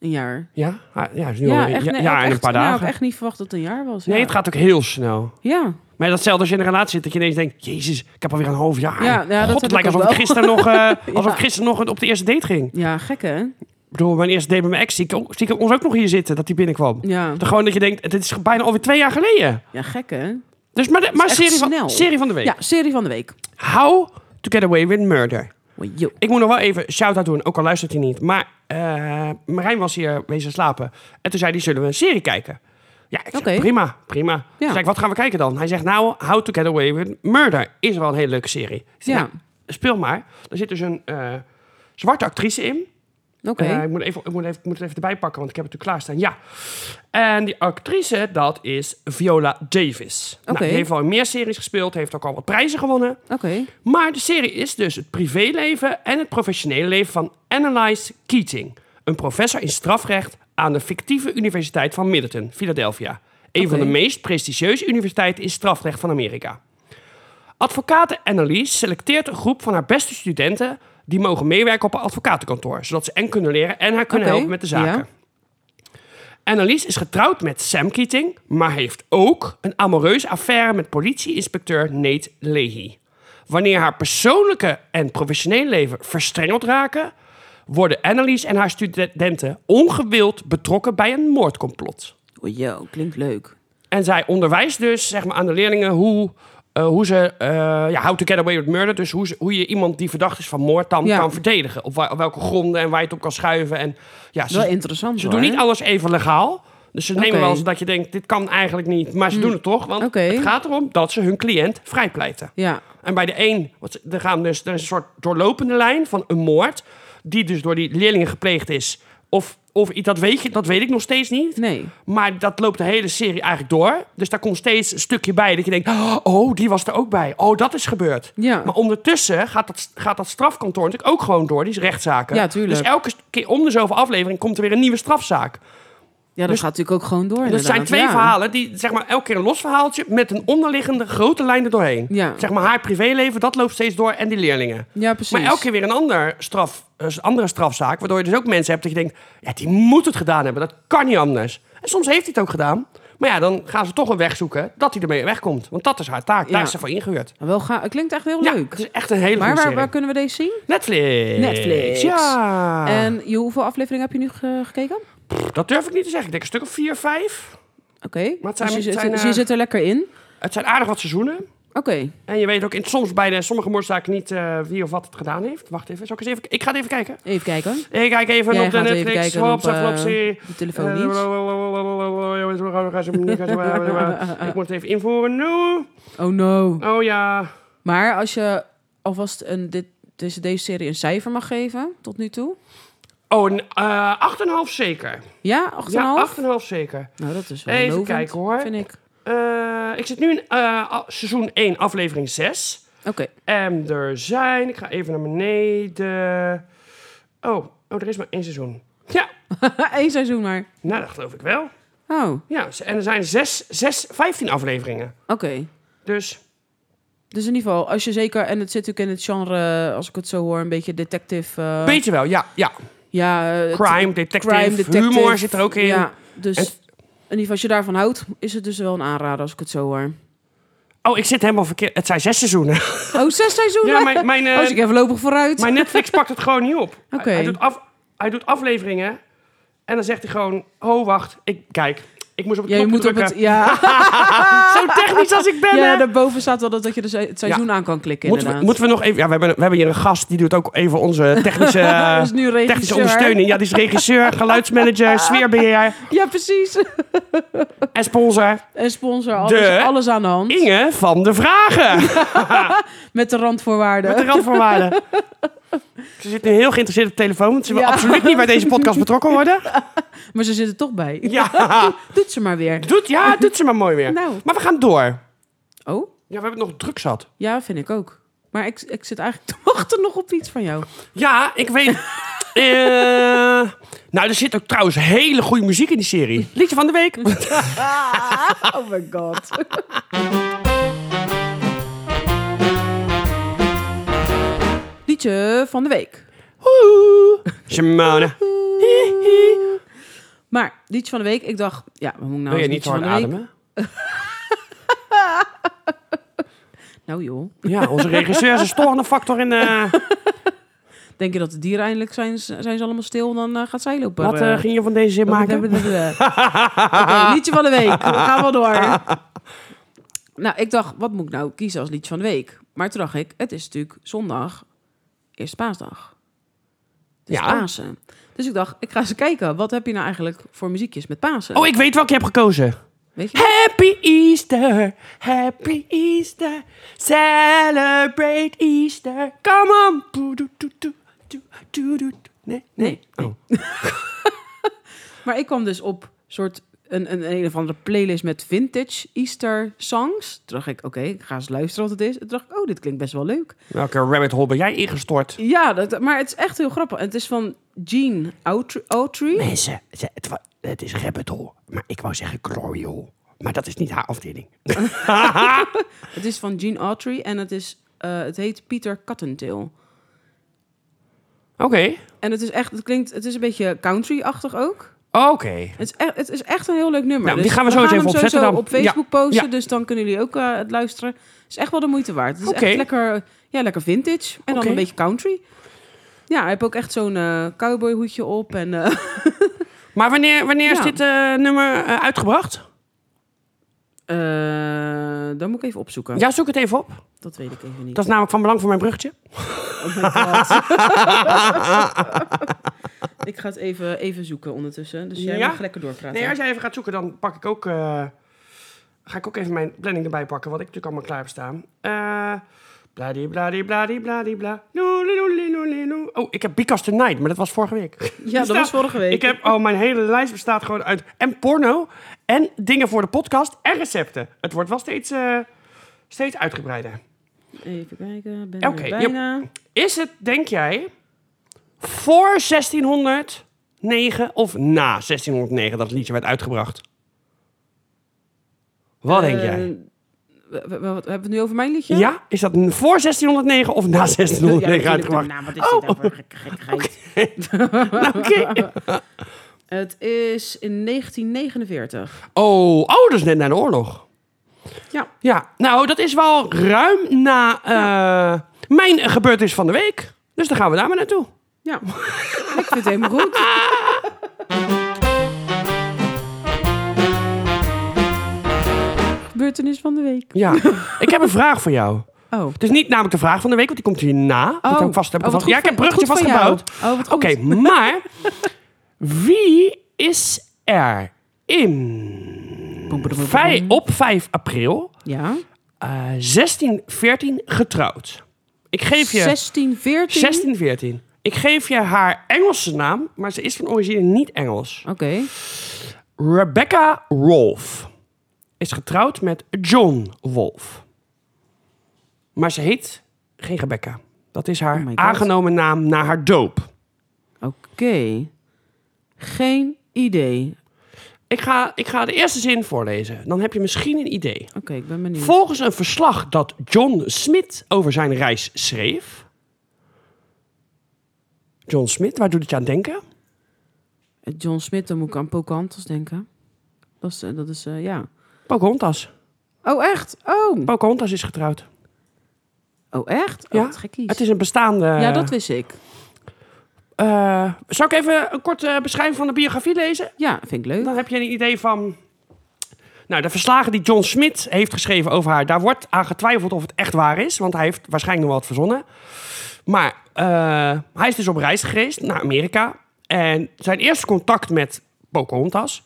Speaker 2: Een jaar.
Speaker 1: Ja. Ah, ja, is nu al
Speaker 2: Ja,
Speaker 1: een
Speaker 2: echt,
Speaker 1: ja-
Speaker 2: nee,
Speaker 1: ja,
Speaker 2: ik
Speaker 1: en een
Speaker 2: echt-
Speaker 1: paar
Speaker 2: nou, ik
Speaker 1: dagen.
Speaker 2: heb echt niet verwacht dat het een jaar was.
Speaker 1: Nee,
Speaker 2: ja.
Speaker 1: het gaat ook heel snel.
Speaker 2: Ja.
Speaker 1: Maar datzelfde als je in een relatie zit, dat je ineens denkt... Jezus, ik heb alweer een half jaar.
Speaker 2: Ja, ja, dat
Speaker 1: God,
Speaker 2: heb
Speaker 1: het
Speaker 2: ik
Speaker 1: lijkt
Speaker 2: ook
Speaker 1: alsof ik,
Speaker 2: wel.
Speaker 1: gisteren nog, eh, alsof
Speaker 2: Ja.
Speaker 1: ik gisteren nog op de eerste date ging.
Speaker 2: ja, gek hè?
Speaker 1: Ik bedoel, mijn eerste date met mijn ex, zie ik, ook- zie ik ons ook nog hier zitten, dat hij binnenkwam.
Speaker 2: Ja,
Speaker 1: Dan gewoon dat je denkt, dit is bijna alweer twee jaar geleden.
Speaker 2: ja gek hè?
Speaker 1: Dus maar, de, maar
Speaker 2: echt
Speaker 1: serie, van,
Speaker 2: snel.
Speaker 1: serie van de week.
Speaker 2: Ja, serie van de week.
Speaker 1: How to Get Away with Murder.
Speaker 2: Oh, yo.
Speaker 1: Ik moet nog wel even shout-out doen, ook al luistert hij niet. Maar eh, Marijn was hier wezen slapen. En toen zei hij, zullen we een serie kijken? Ja, ik zeg,
Speaker 2: Oké.
Speaker 1: prima, prima. Toen zei ik, wat gaan we kijken dan? Hij zegt, nou, How to Get Away with Murder is wel een hele leuke serie. Ik zeg,
Speaker 2: Ja.
Speaker 1: nou, speel maar. Er zit dus een eh, zwarte actrice in.
Speaker 2: Oké.
Speaker 1: Eh, ik, moet even, ik, moet even, ik moet het even erbij pakken, want ik heb het er klaarstaan. Ja. En die actrice, dat is Viola Davis.
Speaker 2: Oké.
Speaker 1: Nou, die heeft al in meer series gespeeld, heeft ook al wat prijzen gewonnen.
Speaker 2: Oké.
Speaker 1: Maar de serie is dus het privéleven en het professionele leven van Annalise Keating. Een professor in strafrecht aan de fictieve Universiteit van Middleton, Philadelphia. Een van de
Speaker 2: Oké.
Speaker 1: meest prestigieuze universiteiten in strafrecht van Amerika. Advocate Annelies selecteert een groep van haar beste studenten... die mogen meewerken op een advocatenkantoor... zodat ze en kunnen leren en haar kunnen
Speaker 2: Oké,
Speaker 1: helpen met de zaken.
Speaker 2: ja.
Speaker 1: Annelies is getrouwd met Sam Keating, maar heeft ook een amoureuze affaire met politie-inspecteur Nate Leahy. Wanneer haar persoonlijke en professionele leven verstrengeld raken, worden Annelies en haar studenten ongewild betrokken bij een moordcomplot.
Speaker 2: Oh, yo, klinkt leuk.
Speaker 1: En zij onderwijst dus zeg maar, aan de leerlingen hoe, eh, hoe ze, eh ja, how to get away with murder, dus hoe, ze- hoe je iemand die verdacht is van moord dan
Speaker 2: Ja.
Speaker 1: kan verdedigen. Op, wa- op welke gronden en waar je het op kan schuiven. En, ja,
Speaker 2: Wel
Speaker 1: ze,
Speaker 2: interessant
Speaker 1: ze
Speaker 2: hoor.
Speaker 1: doen niet alles even legaal. Dus ze nemen
Speaker 2: Oké. Mm.
Speaker 1: wel eens dat je denkt, dit kan eigenlijk niet. Maar ze doen het toch, want
Speaker 2: Oké.
Speaker 1: het gaat erom dat ze hun cliënt vrijpleiten.
Speaker 2: Ja.
Speaker 1: En bij de een, wat, ze- er, gaan dus, er is een soort doorlopende lijn van een moord... die dus door die leerlingen gepleegd is... of, Of iets, dat weet, je, dat weet ik nog steeds niet.
Speaker 2: Nee.
Speaker 1: Maar dat loopt de hele serie eigenlijk door. Dus daar komt steeds een stukje bij dat je denkt... Oh, die was er ook bij. Oh, dat is gebeurd.
Speaker 2: Ja.
Speaker 1: Maar ondertussen gaat dat, gaat dat strafkantoor natuurlijk ook gewoon door. Die is rechtszaken.
Speaker 2: Ja, tuurlijk.
Speaker 1: Dus elke keer om de zoveel aflevering komt er weer een nieuwe strafzaak.
Speaker 2: Ja, dat
Speaker 1: Dus-
Speaker 2: gaat natuurlijk ook gewoon door.
Speaker 1: Dat zijn
Speaker 2: inderdaad.
Speaker 1: twee
Speaker 2: Ja.
Speaker 1: verhalen die, zeg maar, elke keer een los verhaaltje... met een onderliggende grote lijn er doorheen.
Speaker 2: Ja.
Speaker 1: Zeg maar, haar privéleven, dat loopt steeds door. En die leerlingen.
Speaker 2: Ja, precies.
Speaker 1: Maar elke keer weer een ander straf, eh, andere strafzaak. Waardoor je dus ook mensen hebt dat je denkt... ja, die moet het gedaan hebben. Dat kan niet anders. En soms heeft hij het ook gedaan. Maar ja, dan gaan ze toch een weg zoeken dat hij ermee wegkomt. Want dat is haar taak.
Speaker 2: Ja.
Speaker 1: Daar is ze voor ingehuurd.
Speaker 2: Nou, Wel ga... Het klinkt echt heel
Speaker 1: Ja,
Speaker 2: leuk.
Speaker 1: het is echt een hele
Speaker 2: Maar
Speaker 1: goede
Speaker 2: waar,
Speaker 1: serie.
Speaker 2: waar kunnen we deze zien?
Speaker 1: Netflix.
Speaker 2: Netflix. Ehm,
Speaker 1: Ja.
Speaker 2: En je, hoeveel afleveringen heb je nu ge- gekeken? Oké.
Speaker 1: Pff, Dat durf ik niet te zeggen. Ik denk een stuk of vier, vijf. Maar het zijn-
Speaker 2: dus je,
Speaker 1: het
Speaker 2: zit-
Speaker 1: zijn,
Speaker 2: dus je
Speaker 1: eh,
Speaker 2: zit er lekker in.
Speaker 1: Het zijn aardig wat seizoenen.
Speaker 2: Oké.
Speaker 1: En je weet ook in, soms bij de, sommige moordzaken niet eh, wie of wat het gedaan heeft. Wacht even. Zal ik, eens even ik ga het even kijken.
Speaker 2: Even kijken.
Speaker 1: Ik kijk even
Speaker 2: Jij
Speaker 1: op de
Speaker 2: gaat even
Speaker 1: Netflix.
Speaker 2: kijken op,
Speaker 1: Hops,
Speaker 2: eh,
Speaker 1: flopsie.
Speaker 2: De telefoon niet.
Speaker 1: Ik moet het even invoeren. No.
Speaker 2: Oh no.
Speaker 1: Oh ja.
Speaker 2: Maar als je alvast een, dit, deze, deze serie een cijfer mag geven, tot nu toe.
Speaker 1: Oh, een, eh 8,5 zeker.
Speaker 2: Ja, 8,5?
Speaker 1: Ja, 8,5 zeker.
Speaker 2: Nou, dat is wel
Speaker 1: Even
Speaker 2: lovend,
Speaker 1: kijken, hoor.
Speaker 2: vind ik.
Speaker 1: Eh, ik zit nu in eh, a- seizoen 1, aflevering 6.
Speaker 2: Oké.
Speaker 1: En er zijn... Ik ga even naar beneden. Oh, oh er is maar één seizoen. Ja,
Speaker 2: Eén seizoen maar.
Speaker 1: nou dat geloof ik wel.
Speaker 2: Oh, oké.
Speaker 1: Ja, en er zijn 6, 6, 15 afleveringen. Dus
Speaker 2: Dus in ieder geval, als je zeker... En het zit natuurlijk in het genre, als ik het zo hoor, een beetje detective... eh,
Speaker 1: beetje wel, ja. ja.
Speaker 2: ja, eh,
Speaker 1: Crime, detective,
Speaker 2: crime, detective.
Speaker 1: humor zit er ook in.
Speaker 2: Ja, dus
Speaker 1: En-
Speaker 2: in ieder geval als je daarvan houdt, is het dus wel een aanrader als ik het zo hoor.
Speaker 1: Oh, ik zit helemaal verkeerd. Het zijn zes seizoenen.
Speaker 2: Oh, zes seizoenen?
Speaker 1: Ja, mijn, mijn, eh,
Speaker 2: oh, dus ik heb voorlopig vooruit.
Speaker 1: mijn Netflix pakt het gewoon niet op. Hij-
Speaker 2: Oké.
Speaker 1: Hij, doet af, hij doet afleveringen en dan zegt hij gewoon... Oh, wacht. Ik, kijk, ik moest op het
Speaker 2: ja, je
Speaker 1: knopje
Speaker 2: moet op het...
Speaker 1: drukken.
Speaker 2: Ja,
Speaker 1: Zo technisch als ik ben,
Speaker 2: ja
Speaker 1: hè?
Speaker 2: daarboven staat wel dat, dat je dus het seizoen aan kan klikken
Speaker 1: Moeten we,
Speaker 2: inderdaad.
Speaker 1: moeten we nog even... Ja, we hebben, we hebben hier een gast. Die doet ook even onze technische, eh,
Speaker 2: dus nu
Speaker 1: technische
Speaker 2: regisseur.
Speaker 1: ondersteuning. Ja, die is regisseur, geluidsmanager, sfeerbeheer
Speaker 2: Ja, precies.
Speaker 1: en sponsor.
Speaker 2: En sponsor, alles,
Speaker 1: De-
Speaker 2: alles aan de hand.
Speaker 1: Inge van de Vragen.
Speaker 2: Met de randvoorwaarden.
Speaker 1: Met de randvoorwaarden. Ze zit nu heel geïnteresseerd op de telefoon. Want ze wil
Speaker 2: Ja.
Speaker 1: absoluut niet bij deze podcast betrokken worden.
Speaker 2: Maar ze zitten toch bij.
Speaker 1: Ja,
Speaker 2: Doet ze maar weer.
Speaker 1: doet, ja doet ze maar mooi weer.
Speaker 2: Nou.
Speaker 1: Maar we gaan door.
Speaker 2: Oh,
Speaker 1: Ja, we hebben nog druk zat.
Speaker 2: ja, vind ik ook. Maar ik, ik zit eigenlijk te wachten nog op iets van jou.
Speaker 1: Ja, ik weet. Eh, nou, er zit ook trouwens hele goede muziek in die serie. Liedje van de week.
Speaker 2: oh my god. Liedje van de week.
Speaker 1: Oeh, Simone. Nou,
Speaker 2: Maar liedje van de week, ik dacht, ja, we moeten nou
Speaker 1: Wil je
Speaker 2: eens
Speaker 1: niet
Speaker 2: liedje
Speaker 1: zo hard
Speaker 2: van de week-
Speaker 1: ademen?
Speaker 2: Nou joh,
Speaker 1: Ja, onze regisseur is een storende factor in. eh
Speaker 2: denk je dat de dieren eindelijk zijn, zijn ze allemaal stil? Dan eh, gaat zij lopen.
Speaker 1: wat
Speaker 2: eh,
Speaker 1: eh, ging je van deze zin maken?
Speaker 2: Oké, liedje van de week. We gaan wel door. Nou, ik dacht, wat moet ik nou kiezen als liedje van de week? Maar toen dacht ik, het is natuurlijk zondag, eerste paasdag. Het is
Speaker 1: Ja.
Speaker 2: Pasen. Dus ik dacht, ik ga eens kijken. Wat heb je nou eigenlijk voor muziekjes met Pasen?
Speaker 1: Oh, ik weet welke je hebt gekozen.
Speaker 2: Weet je?
Speaker 1: Happy Easter, happy Easter, celebrate Easter, come on. Doe, doe, doe, doe, doe, doe, doe. Nee, nee. Oh.
Speaker 2: Maar ik kwam dus op soort een, een, een of andere playlist met vintage Easter songs. Toen dacht ik, oké, ik ga eens luisteren wat het is. Toen dacht ik, oh, dit klinkt best wel leuk.
Speaker 1: Welke rabbit hole ben jij ingestort?
Speaker 2: Ja, dat, maar het is echt heel grappig. En het is van Gene Autry. Autry.
Speaker 1: Mensen, ze- het, wa- het is rabbit hole, maar ik wou zeggen glory hole. Maar dat is niet haar afdeling.
Speaker 2: Het is van Gene Autry en het, is, eh, het heet Peter Cottontail.
Speaker 1: Oké.
Speaker 2: En het is echt, het klinkt, het is een beetje country-achtig ook.
Speaker 1: Oké.
Speaker 2: Het is, echt, het is echt een heel leuk nummer.
Speaker 1: Nou, die
Speaker 2: Dus
Speaker 1: gaan we zo eens
Speaker 2: hem
Speaker 1: even opzetten
Speaker 2: sowieso
Speaker 1: dan.
Speaker 2: op Facebook
Speaker 1: Ja,
Speaker 2: posten,
Speaker 1: ja.
Speaker 2: dus dan kunnen jullie ook eh, het luisteren. Het is echt wel de moeite waard. Het is
Speaker 1: Oké.
Speaker 2: echt lekker, ja, lekker vintage en dan
Speaker 1: Oké.
Speaker 2: een beetje country. Ja, hij heeft ook echt zo'n eh, cowboyhoedje op en eh,
Speaker 1: Maar wanneer, wanneer is
Speaker 2: Ja.
Speaker 1: dit eh, nummer eh, uitgebracht?
Speaker 2: eh, dan moet ik even opzoeken.
Speaker 1: Ja, zoek het even op.
Speaker 2: Dat weet ik even niet.
Speaker 1: Dat is namelijk van belang voor mijn bruggetje.
Speaker 2: Oh my god. ik ga het even, even zoeken ondertussen. Dus jij
Speaker 1: Ja?
Speaker 2: mag lekker doorpraten.
Speaker 1: Nee, als jij even gaat zoeken, dan pak ik ook, eh, ga ik ook even mijn planning erbij pakken, wat ik natuurlijk allemaal klaar heb staan. Eh, Bladibladibladibladibla. Doeliedoeliedoeliedoe. Oh, ik heb Because the Night, maar dat was vorige week.
Speaker 2: Ja, dat
Speaker 1: Bestaat-
Speaker 2: was vorige week.
Speaker 1: Ik heb, oh, mijn hele lijst bestaat gewoon uit en porno en dingen voor de podcast en recepten. Het wordt wel steeds, eh, steeds uitgebreider.
Speaker 2: Even kijken, ben er
Speaker 1: Oké, ja.
Speaker 2: bijna.
Speaker 1: Is het, denk jij, voor 1609 of na 1609 dat het liedje werd uitgebracht? Wat denk
Speaker 2: Eh,
Speaker 1: jij?
Speaker 2: w- w- wat, hebben we het nu over mijn liedje?
Speaker 1: Ja? is dat voor 1609 of na
Speaker 2: Ja,
Speaker 1: 1609
Speaker 2: natuurlijk.
Speaker 1: uitgebracht?
Speaker 2: Nou, wat is dit nou voor gek- gekkigheid?
Speaker 1: Nou, oké.
Speaker 2: Het is in 1949.
Speaker 1: Oh, oh, dat is net na de oorlog.
Speaker 2: Ja.
Speaker 1: Ja, nou, dat is wel ruim na eh, mijn gebeurtenis van de week. Dus dan gaan we daar maar naartoe.
Speaker 2: Ja, ik vind het helemaal goed. Gebeurtenis van de week.
Speaker 1: Ja, ik heb een vraag voor jou.
Speaker 2: Oh.
Speaker 1: Het is niet namelijk de vraag van de week, want die komt hierna. Dat heb ik vast, heb ik
Speaker 2: Oh,
Speaker 1: al
Speaker 2: wat
Speaker 1: vast.
Speaker 2: goed
Speaker 1: Ja, ik heb
Speaker 2: van-
Speaker 1: bruggetje
Speaker 2: wat goed van jou.
Speaker 1: vastgebouwd.
Speaker 2: Oh, wat goed.
Speaker 1: Oké, maar wie is er in vij- op 5 april
Speaker 2: Ja.
Speaker 1: eh 1614 getrouwd? Ik geef je
Speaker 2: 16, 14.
Speaker 1: 1614. Ik geef je haar Engelse naam, maar ze is van origine niet Engels.
Speaker 2: Oké.
Speaker 1: Rebecca Rolf is getrouwd met John Wolf. Maar ze heet geen Rebecca. Dat is haar
Speaker 2: Oh my God.
Speaker 1: aangenomen naam na haar doop.
Speaker 2: Oké. Geen idee.
Speaker 1: Ik ga, ik ga de eerste zin voorlezen. Dan heb je misschien een idee.
Speaker 2: Oké, ik ben benieuwd.
Speaker 1: Volgens een verslag dat John Smith over zijn reis schreef. John Smith, waar doet het je aan denken?
Speaker 2: John Smith, dan moet ik aan Pocahontas denken. Dat is, eh, dat is eh, ja.
Speaker 1: Pocahontas.
Speaker 2: Oh, echt? Oh.
Speaker 1: Pocahontas is getrouwd.
Speaker 2: Oh, echt? Oh,
Speaker 1: Ja,
Speaker 2: wat gekkies.
Speaker 1: Het is een bestaande.
Speaker 2: Ja, dat wist ik.
Speaker 1: eh, zal ik even een korte beschrijving van de biografie lezen?
Speaker 2: Ja, vind ik leuk.
Speaker 1: Dan heb je een idee van. Nou, de verslagen die John Smith heeft geschreven over haar, daar wordt aan getwijfeld of het echt waar is. Want hij heeft waarschijnlijk nog wat verzonnen. Maar eh, hij is dus op reis geweest naar Amerika. En zijn eerste contact met Pocahontas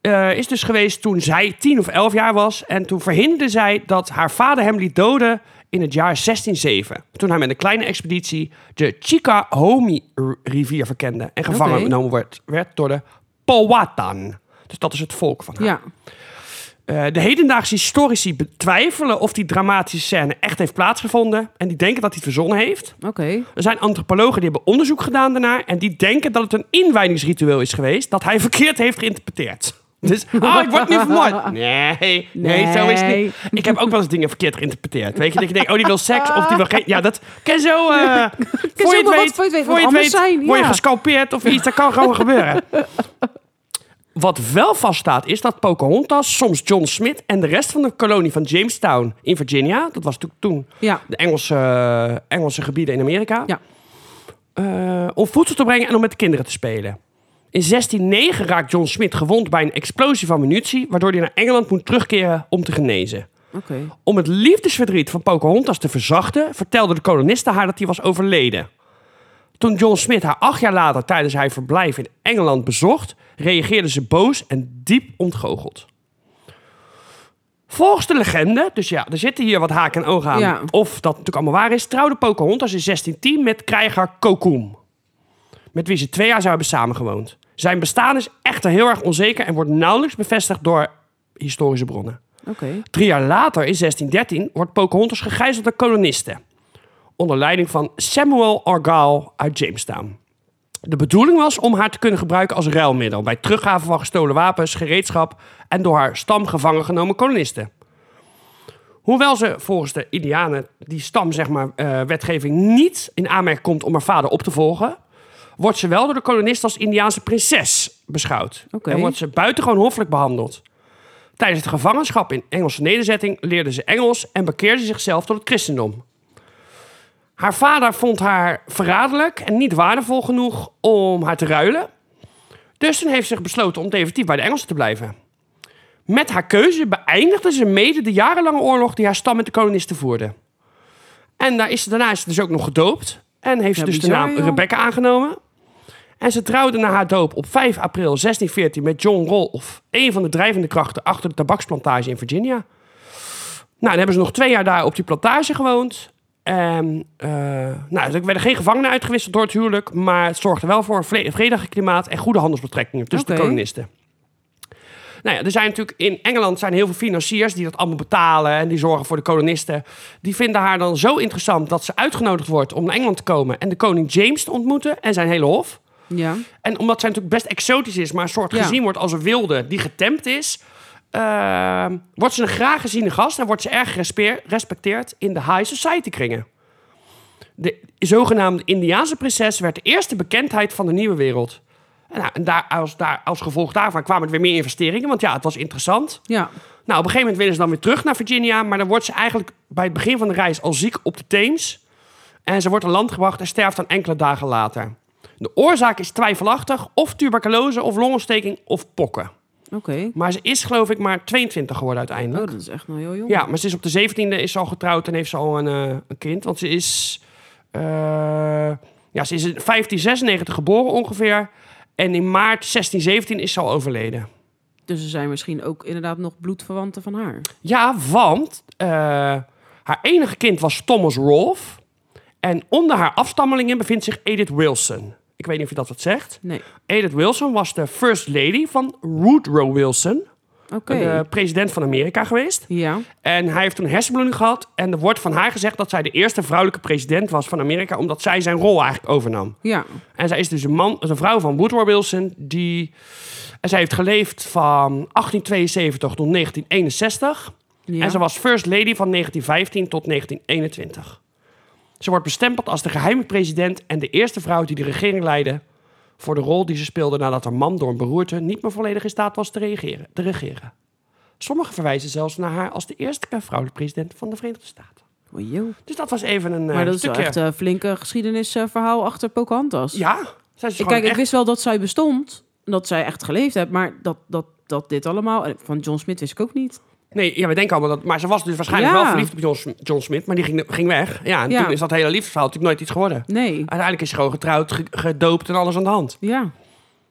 Speaker 1: eh, is dus geweest toen zij 10 of 11 jaar was. En toen verhinderde zij dat haar vader hem liet doden in het jaar 1607. Toen hij met een kleine expeditie de Chicahomie-rivier verkende. En gevangen
Speaker 2: Oké.
Speaker 1: genomen werd, werd door de Powhatan. Dus dat is het volk van haar.
Speaker 2: Ja.
Speaker 1: Eh, de hedendaagse historici betwijfelen of die dramatische scène echt heeft plaatsgevonden. En die denken dat hij het verzonnen heeft.
Speaker 2: Oké.
Speaker 1: Er zijn antropologen die hebben onderzoek gedaan daarnaar. En die denken dat het een inwijdingsritueel is geweest. Dat hij verkeerd heeft geïnterpreteerd. Dus, ah, ik word nu vermoord. Nee, nee, zo is het
Speaker 2: Nee.
Speaker 1: niet. Ik heb ook wel eens dingen verkeerd geïnterpreteerd. Weet je, dat je denkt, oh, die wil seks of die wil geen... Ja, dat kan zo... eh, voor,
Speaker 2: maar
Speaker 1: je het
Speaker 2: wat
Speaker 1: weet,
Speaker 2: voor je
Speaker 1: voor
Speaker 2: het weet, wat
Speaker 1: je het
Speaker 2: anders
Speaker 1: weet,
Speaker 2: zijn,
Speaker 1: word je
Speaker 2: ja.
Speaker 1: gescalpeerd of iets. Dat kan gewoon gebeuren. Wat wel vaststaat is dat Pocahontas, soms John Smith en de rest van de kolonie van Jamestown in Virginia, dat was natuurlijk toen
Speaker 2: Ja.
Speaker 1: de Engelse, eh, Engelse gebieden in Amerika,
Speaker 2: Ja.
Speaker 1: eh, om voedsel te brengen en om met de kinderen te spelen. In 1609 raakt John Smith gewond bij een explosie van munitie, waardoor hij naar Engeland moet terugkeren om te genezen.
Speaker 2: Oké.
Speaker 1: Om het liefdesverdriet van Pocahontas te verzachten, vertelden de kolonisten haar dat hij was overleden. Toen John Smith haar acht jaar later tijdens haar verblijf in Engeland bezocht, reageerde ze boos en diep ontgoocheld. Volgens de legende, dus ja, er zitten hier wat haken en ogen aan,
Speaker 2: Ja.
Speaker 1: of dat natuurlijk allemaal waar is, trouwde Pocahontas in 1610 met krijger Kokum, met wie ze twee jaar zou hebben samengewoond. Zijn bestaan is echter heel erg onzeker en wordt nauwelijks bevestigd door historische bronnen.
Speaker 2: Oké.
Speaker 1: Drie jaar later, in 1613, wordt Pocahontas gegijzeld door kolonisten. Onder leiding van Samuel Argyle uit Jamestown. De bedoeling was om haar te kunnen gebruiken als ruilmiddel... bij teruggave van gestolen wapens, gereedschap... en door haar stam gevangen genomen kolonisten. Hoewel ze volgens de Indianen die stam, zeg maar, eh, wetgeving niet in aanmerking komt om haar vader op te volgen, wordt ze wel door de kolonisten als Indiaanse prinses beschouwd.
Speaker 2: Oké.
Speaker 1: En wordt ze buitengewoon hoffelijk behandeld. Tijdens het gevangenschap in Engelse nederzetting leerde ze Engels en bekeerde zichzelf tot het christendom. Haar vader vond haar verraderlijk en niet waardevol genoeg om haar te ruilen. Dus toen heeft ze besloten om definitief bij de Engelsen te blijven. Met haar keuze beëindigde ze mede de jarenlange oorlog die haar stam met de kolonisten voerde. En daar is ze, daarna is ze dus ook nog gedoopt. En heeft ze
Speaker 2: Ja,
Speaker 1: dus de
Speaker 2: bizar,
Speaker 1: naam
Speaker 2: joh.
Speaker 1: Rebecca aangenomen. En ze trouwde na haar doop op 5 april 1614 met John Rolfe, een van de drijvende krachten achter de tabaksplantage in Virginia. Nou, dan hebben ze nog twee jaar daar op die plantage gewoond. En, eh, nou, er werden geen gevangenen uitgewisseld door het huwelijk, maar het zorgde wel voor een vre- vredige klimaat en goede handelsbetrekkingen tussen
Speaker 2: Oké.
Speaker 1: de kolonisten. Nou ja, er zijn natuurlijk in Engeland zijn heel veel financiers die dat allemaal betalen en die zorgen voor de kolonisten. Die vinden haar dan zo interessant dat ze uitgenodigd wordt om naar Engeland te komen en de koning James te ontmoeten en zijn hele hof.
Speaker 2: Ja.
Speaker 1: En omdat zij natuurlijk best exotisch is, maar een soort
Speaker 2: Ja.
Speaker 1: gezien wordt als een wilde die getemd is, ehm, wordt ze een graag geziene gast en wordt ze erg gespe- gerespecteerd in de high society kringen. De zogenaamde Indiaanse prinses werd de eerste bekendheid van de nieuwe wereld. En, nou, en daar, als, daar, als gevolg daarvan kwamen er weer meer investeringen, want ja, het was interessant.
Speaker 2: Ja.
Speaker 1: Nou, op een gegeven moment willen ze dan weer terug naar Virginia. Maar dan wordt ze eigenlijk bij het begin van de reis al ziek op de Theems. En ze wordt aan land gebracht en sterft dan enkele dagen later. De oorzaak is twijfelachtig. Of tuberculose, of longontsteking, of pokken.
Speaker 2: Oké.
Speaker 1: Maar ze is geloof ik maar 22 geworden
Speaker 2: Oh,
Speaker 1: uiteindelijk.
Speaker 2: dat is echt nog heel jong.
Speaker 1: Ja, maar ze is op de 17e is ze al getrouwd en heeft ze al een, eh, een kind. Want ze is... eh, ja, ze is in 1596 geboren ongeveer. En in maart 1617 is ze al overleden.
Speaker 2: Dus er zijn misschien ook inderdaad nog bloedverwanten van haar.
Speaker 1: Ja, want eh, haar enige kind was Thomas Rolfe. En onder haar afstammelingen bevindt zich Edith Wilson. Ik weet niet of je dat wat zegt.
Speaker 2: Nee.
Speaker 1: Edith Wilson was de first lady van Woodrow Wilson.
Speaker 2: Oké.
Speaker 1: De president van Amerika geweest.
Speaker 2: Ja.
Speaker 1: En hij heeft toen hersenbloeding gehad. En er wordt van haar gezegd dat zij de eerste vrouwelijke president was van Amerika. Omdat zij zijn rol eigenlijk overnam.
Speaker 2: Ja.
Speaker 1: En zij is dus een, man, een vrouw van Woodrow Wilson. Die, en zij heeft geleefd van 1872 tot 1961.
Speaker 2: ja.
Speaker 1: En ze was First Lady van 1915 tot 1921. Ze wordt bestempeld als de geheime president en de eerste vrouw die de regering leidde. voor de rol die ze speelde nadat haar man door een beroerte niet meer volledig in staat was te, reageren, te regeren. Sommigen verwijzen zelfs naar haar als de eerste vrouwelijke president van de Verenigde Staten.
Speaker 2: Oh, joh.
Speaker 1: Dus dat was even een eh,
Speaker 2: Maar dat is wel
Speaker 1: stukje.
Speaker 2: echt een flinke geschiedenisverhaal achter Pocahontas.
Speaker 1: Ja, zij is
Speaker 2: Ik,
Speaker 1: gewoon
Speaker 2: kijk, ik
Speaker 1: echt-
Speaker 2: wist wel dat zij bestond. en Dat zij echt geleefd heeft. Maar dat, dat, dat dit allemaal... en Van John Smith wist ik ook niet.
Speaker 1: Nee, ja, we denken allemaal dat. Maar ze was dus waarschijnlijk
Speaker 2: Ja.
Speaker 1: wel verliefd op John, Sm- John Smith, maar die ging, ging weg. Ja, en
Speaker 2: Ja.
Speaker 1: toen is dat hele liefdesverhaal natuurlijk nooit iets geworden.
Speaker 2: Nee.
Speaker 1: Uiteindelijk is ze gewoon getrouwd, ge- gedoopt en alles aan de hand.
Speaker 2: Ja.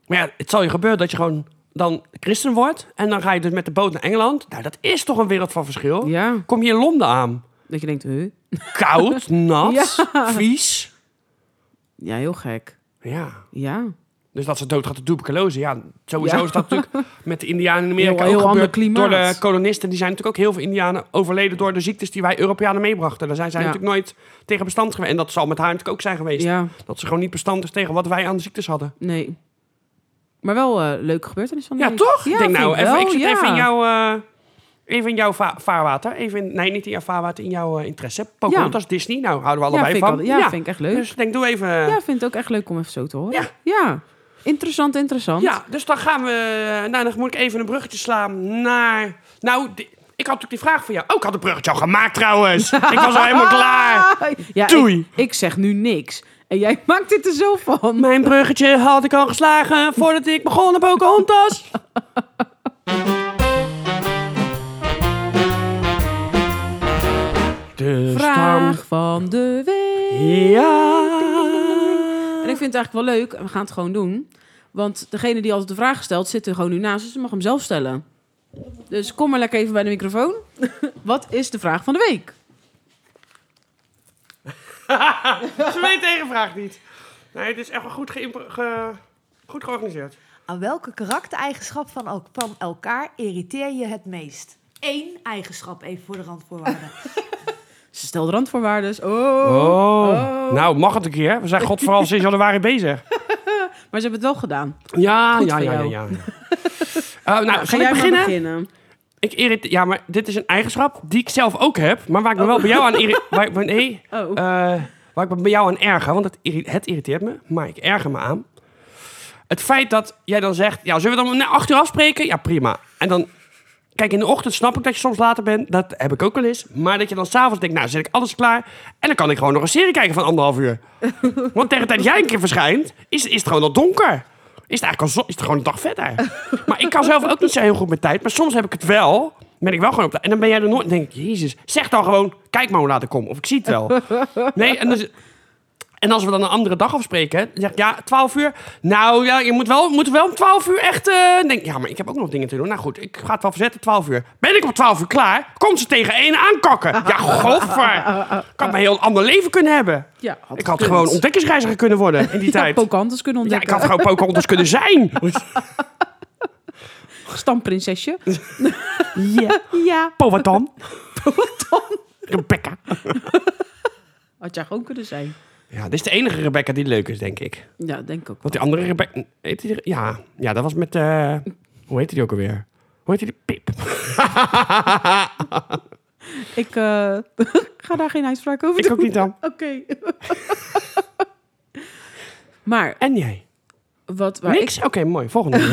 Speaker 1: Maar ja, het zal je gebeuren dat je gewoon dan christen wordt. En dan ga je dus met de boot naar Engeland. Nou, dat is toch een wereld van verschil.
Speaker 2: Ja.
Speaker 1: Kom je in Londen aan.
Speaker 2: Dat je denkt, huh?
Speaker 1: Koud, nat, vies.
Speaker 2: Ja, heel gek.
Speaker 1: Ja.
Speaker 2: Ja.
Speaker 1: Dus dat ze dood gaat de tuberculose. Ja, sowieso
Speaker 2: Ja.
Speaker 1: is dat natuurlijk met de Indianen in Amerika
Speaker 2: Heel- heel
Speaker 1: ook
Speaker 2: ander
Speaker 1: gebeurd. Door
Speaker 2: klimaat.
Speaker 1: de kolonisten. Die zijn natuurlijk ook heel veel Indianen overleden door de ziektes die wij Europeanen meebrachten. Daar zijn zij
Speaker 2: Ja.
Speaker 1: natuurlijk nooit tegen bestand geweest. En dat zal met haar natuurlijk ook zijn geweest.
Speaker 2: Ja.
Speaker 1: Dat ze gewoon niet bestand is tegen wat wij aan de ziektes hadden.
Speaker 2: Nee. Maar wel eh leuke gebeurtenis van de
Speaker 1: Ja,
Speaker 2: week.
Speaker 1: toch? ik denk
Speaker 2: vind
Speaker 1: nou,
Speaker 2: ik
Speaker 1: even,
Speaker 2: wel,
Speaker 1: ik zit
Speaker 2: ja.
Speaker 1: even in jouw, eh, even in jouw va- vaarwater. Even in- nee, niet in jouw vaarwater, in jouw eh, interesse. Pocahontas, Disney, nou houden we
Speaker 2: ja,
Speaker 1: allebei
Speaker 2: vind
Speaker 1: van.
Speaker 2: Ik, al- ja, vind ik echt leuk.
Speaker 1: Dus ik denk, doe even... eh,
Speaker 2: ja, vind het ook echt leuk om even zo te horen.
Speaker 1: Ja.
Speaker 2: Interessant, interessant.
Speaker 1: ja, dus dan gaan we... eh, Nou, dan moet ik even een bruggetje slaan naar... Nou, di- ik had natuurlijk die vraag van jou. Oh, ik had een bruggetje al gemaakt trouwens. ik was al helemaal klaar.
Speaker 2: Ah! Ja,
Speaker 1: Doei.
Speaker 2: Ik, ik zeg nu niks. En jij maakt dit er zo van.
Speaker 1: Mijn bruggetje had ik al geslagen voordat ik begon op Pocahontas. De stam.
Speaker 2: Vraag van de week.
Speaker 1: Ja.
Speaker 2: En ik vind het eigenlijk wel leuk. En we gaan het gewoon doen. Want degene die altijd de vraag stelt, zit er gewoon nu naast. Dus ze mag hem zelf stellen. Dus kom maar lekker even bij de microfoon. Wat is de vraag van de week?
Speaker 1: Ze weet tegenvraag niet. Nee, het is echt wel goed, geïmpro- ge- goed georganiseerd.
Speaker 3: Aan welke karaktereigenschap van, elk- van elkaar irriteer je het meest? Eén eigenschap, even voor de randvoorwaarden.
Speaker 2: Ze stelde randvoorwaarden. Oh. Oh.
Speaker 1: Nou, mag het een keer. We zijn godveral sinds januari bezig.
Speaker 2: Maar ze hebben het wel gedaan.
Speaker 1: Ja,
Speaker 2: Goed
Speaker 1: ja,
Speaker 2: voor
Speaker 1: ja, ja,
Speaker 2: jou.
Speaker 1: ja. Eh, nou, zal
Speaker 2: Ga
Speaker 1: ik
Speaker 2: jij maar
Speaker 1: beginnen?
Speaker 2: beginnen?
Speaker 1: Ik irrite- ja, maar dit is een eigenschap die ik zelf ook heb, maar waar ik me wel bij jou aan irri- waar ik me- nee,
Speaker 2: Oh.
Speaker 1: eh, waar ik me bij jou aan erger, want het, irri- het irriteert me, maar ik erger me aan. Het feit dat jij dan zegt, ja, zullen we dan om na acht uur afspreken? Ja, prima. En dan, kijk, in de ochtend snap ik dat je soms later bent, dat heb ik ook wel eens, maar dat je dan s'avonds denkt, nou, zet ik alles klaar en dan kan ik gewoon nog een serie kijken van anderhalf uur. Want tegen de tijd dat jij een keer verschijnt, is, is het gewoon al donker. Is het eigenlijk al zo, is het gewoon een dag verder. Maar ik kan zelf ook niet zo heel goed met tijd. Maar soms heb ik het wel. Ben ik wel gewoon op tijd. En dan ben jij er nooit. Dan denk ik, jezus, zeg dan gewoon, kijk maar hoe laat ik kom. Of ik zie het wel. Nee, en dan, is- en dus- En als we dan een andere dag afspreken, hè, dan zeg ik ja, 12 uur. Nou ja, je moet wel, moet wel om 12 uur echt. eh denk, ja, maar ik heb ook nog dingen te doen. Nou goed, ik ga het wel verzetten, 12 uur. Ben ik om 12 uur klaar? Komt ze tegen één aankakken? Ja, godver. Ik had een heel ander leven kunnen hebben.
Speaker 2: Ja, had
Speaker 1: Ik had
Speaker 2: gekund.
Speaker 1: gewoon ontdekkingsreiziger kunnen worden in die
Speaker 2: Ik had
Speaker 1: tijd.
Speaker 2: Pocahontas kunnen
Speaker 1: Ja, ik
Speaker 2: ontdekken.
Speaker 1: had gewoon Pocahontas kunnen zijn.
Speaker 2: Stamprinsesje.
Speaker 1: Ja.
Speaker 2: Ja.
Speaker 1: Powhatan. Rebecca.
Speaker 2: Had jij gewoon kunnen zijn.
Speaker 1: Ja, dit is de enige Rebecca die leuk is, denk ik.
Speaker 2: Ja, denk ik ook.
Speaker 1: Want die andere Rebecca... Heet die, ja, ja, dat was met... eh, hoe heette die ook alweer? Hoe heette die? Pip.
Speaker 2: Ik eh, ga daar geen uitspraak over
Speaker 1: Ik
Speaker 2: doen.
Speaker 1: ook niet dan.
Speaker 2: Oké. maar
Speaker 1: En jij?
Speaker 2: wat... Waar ik,
Speaker 1: Niks? Oké, mooi. Volgende.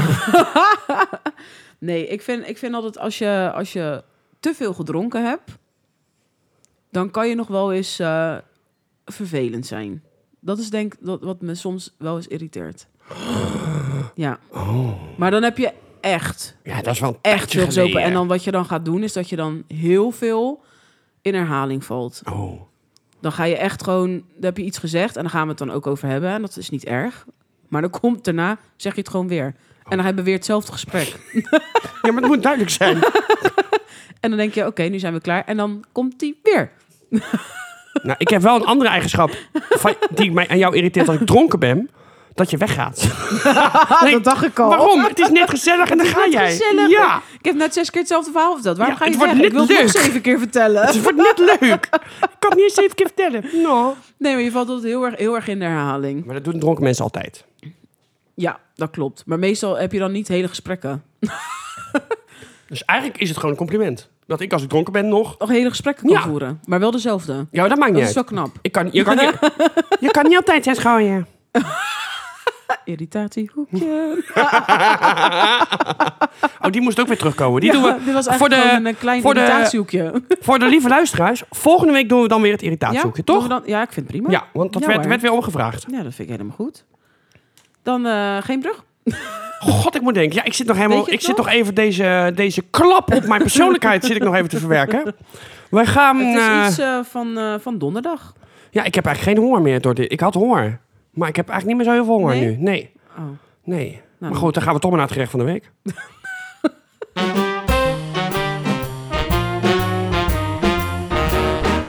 Speaker 2: nee, ik vind, ik vind altijd als je, als je te veel gedronken hebt... dan kan je nog wel eens eh, vervelend zijn. Dat is denk ik dat- wat me soms wel eens irriteert. Ja. Maar dan heb je echt
Speaker 1: ja, dat is wel een
Speaker 2: echt
Speaker 1: Oh. tijdje
Speaker 2: veel gezopen.
Speaker 1: geleden.
Speaker 2: En dan wat je dan gaat doen, is dat je dan heel veel in herhaling valt.
Speaker 1: Oh.
Speaker 2: Dan ga je echt gewoon, dan heb je iets gezegd en dan gaan we het dan ook over hebben. En dat is niet erg. Maar dan komt daarna, zeg je het gewoon weer. En dan
Speaker 1: Oh.
Speaker 2: hebben we weer hetzelfde gesprek.
Speaker 1: Ja, maar het moet duidelijk zijn.
Speaker 2: En dan denk je, oké, nu zijn we klaar. En dan komt die weer.
Speaker 1: nou, ik heb wel een andere eigenschap van- die mij aan jou irriteert als ik dronken ben. Dat je weggaat. Nee,
Speaker 2: dat dacht ik al.
Speaker 1: Waarom? Het is net gezellig en dan ga jij.
Speaker 2: gezellig.
Speaker 1: Ja.
Speaker 2: Ik heb net zes keer hetzelfde verhaal verteld. Waarom
Speaker 1: Ja,
Speaker 2: ga je
Speaker 1: het wordt
Speaker 2: weg? Ik wil
Speaker 1: net
Speaker 2: het nog
Speaker 1: leuk.
Speaker 2: zeven keer vertellen.
Speaker 1: Het wordt net leuk. Ik kan het niet eens zeven keer vertellen. No.
Speaker 2: Nee, maar je valt altijd heel erg, heel erg in de herhaling.
Speaker 1: Maar dat doen dronken mensen altijd.
Speaker 2: Ja, dat klopt. Maar meestal heb je dan niet hele gesprekken.
Speaker 1: Dus eigenlijk is het gewoon een compliment. Dat ik als ik dronken ben nog...
Speaker 2: Nog hele gesprekken kan
Speaker 1: Ja.
Speaker 2: voeren. Maar wel dezelfde.
Speaker 1: Ja, maar dat maakt
Speaker 2: Dat
Speaker 1: niet
Speaker 2: is
Speaker 1: uit.
Speaker 2: wel knap.
Speaker 1: Ik kan, je, kan, je, je kan niet altijd zijn schooien.
Speaker 2: Irritatiehoekje.
Speaker 1: Oh, die moest ook weer terugkomen. Die
Speaker 2: Ja,
Speaker 1: doen we
Speaker 2: Dit was eigenlijk
Speaker 1: voor de-
Speaker 2: gewoon een klein
Speaker 1: voor de-
Speaker 2: irritatiehoekje.
Speaker 1: voor de lieve luisteraars. Volgende week doen we dan weer het irritatiehoekje,
Speaker 2: doen
Speaker 1: toch?
Speaker 2: we dan- ja, ik vind het prima.
Speaker 1: Ja, want dat
Speaker 2: Ja,
Speaker 1: werd,
Speaker 2: hoor.
Speaker 1: werd weer omgevraagd.
Speaker 2: Ja, dat vind ik helemaal goed. Dan eh, geen brug.
Speaker 1: God, ik moet denken. Ja, ik zit nog helemaal.
Speaker 2: Weet je
Speaker 1: Ik
Speaker 2: het
Speaker 1: zit
Speaker 2: nog?
Speaker 1: nog even deze, deze klap op mijn persoonlijkheid zit ik nog even te verwerken. Wij gaan.
Speaker 2: Het is
Speaker 1: eh,
Speaker 2: iets eh, van, eh, van donderdag.
Speaker 1: Ja, ik heb eigenlijk geen honger meer door dit. Ik had honger. Maar ik heb eigenlijk niet meer zo heel veel honger
Speaker 2: Nee?
Speaker 1: nu. Nee.
Speaker 2: Oh.
Speaker 1: Nee.
Speaker 2: Nou,
Speaker 1: maar goed, dan gaan we toch maar naar het gerecht van de week.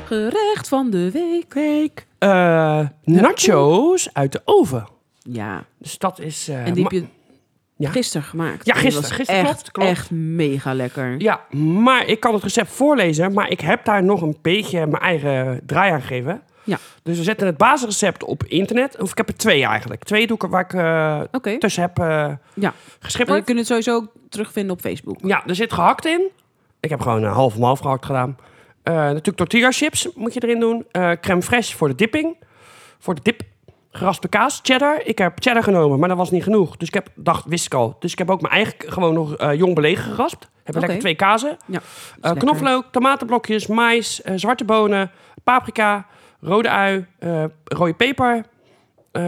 Speaker 2: Gerecht van de week. week.
Speaker 1: Eh, nachos uit de oven.
Speaker 2: Ja,
Speaker 1: Dus dat is. eh,
Speaker 2: en die heb
Speaker 1: ma-
Speaker 2: je
Speaker 1: Ja.
Speaker 2: gisteren gemaakt.
Speaker 1: Ja,
Speaker 2: En die
Speaker 1: gisteren,
Speaker 2: was
Speaker 1: gisteren,
Speaker 2: echt,
Speaker 1: klopt, klopt.
Speaker 2: echt mega lekker.
Speaker 1: ja, maar ik kan het recept voorlezen. Maar ik heb daar nog een beetje mijn eigen draai aan gegeven.
Speaker 2: Ja.
Speaker 1: Dus we zetten het basisrecept op internet. Of ik heb er twee eigenlijk. Twee doeken waar ik eh,
Speaker 2: Oké.
Speaker 1: tussen heb eh
Speaker 2: Ja. Maar je
Speaker 1: geschipperd.
Speaker 2: kunt het sowieso ook terugvinden op Facebook.
Speaker 1: Ja, er zit gehakt in. Ik heb gewoon eh, half om half gehakt gedaan. Eh, natuurlijk tortilla chips moet je erin doen. Eh crème fraîche voor de dipping. Voor de dip. Geraspte kaas, cheddar. Ik heb cheddar genomen, maar dat was niet genoeg. Dus ik heb, dacht, wist ik al. Dus ik heb ook mijn eigen k- gewoon nog eh, jong belegen geraspt. Heb
Speaker 2: Oké.
Speaker 1: lekker twee kazen.
Speaker 2: Ja,
Speaker 1: Eh,
Speaker 2: lekker.
Speaker 1: knoflook, tomatenblokjes, mais, eh, zwarte bonen, paprika, rode ui, eh, rode peper. Eh,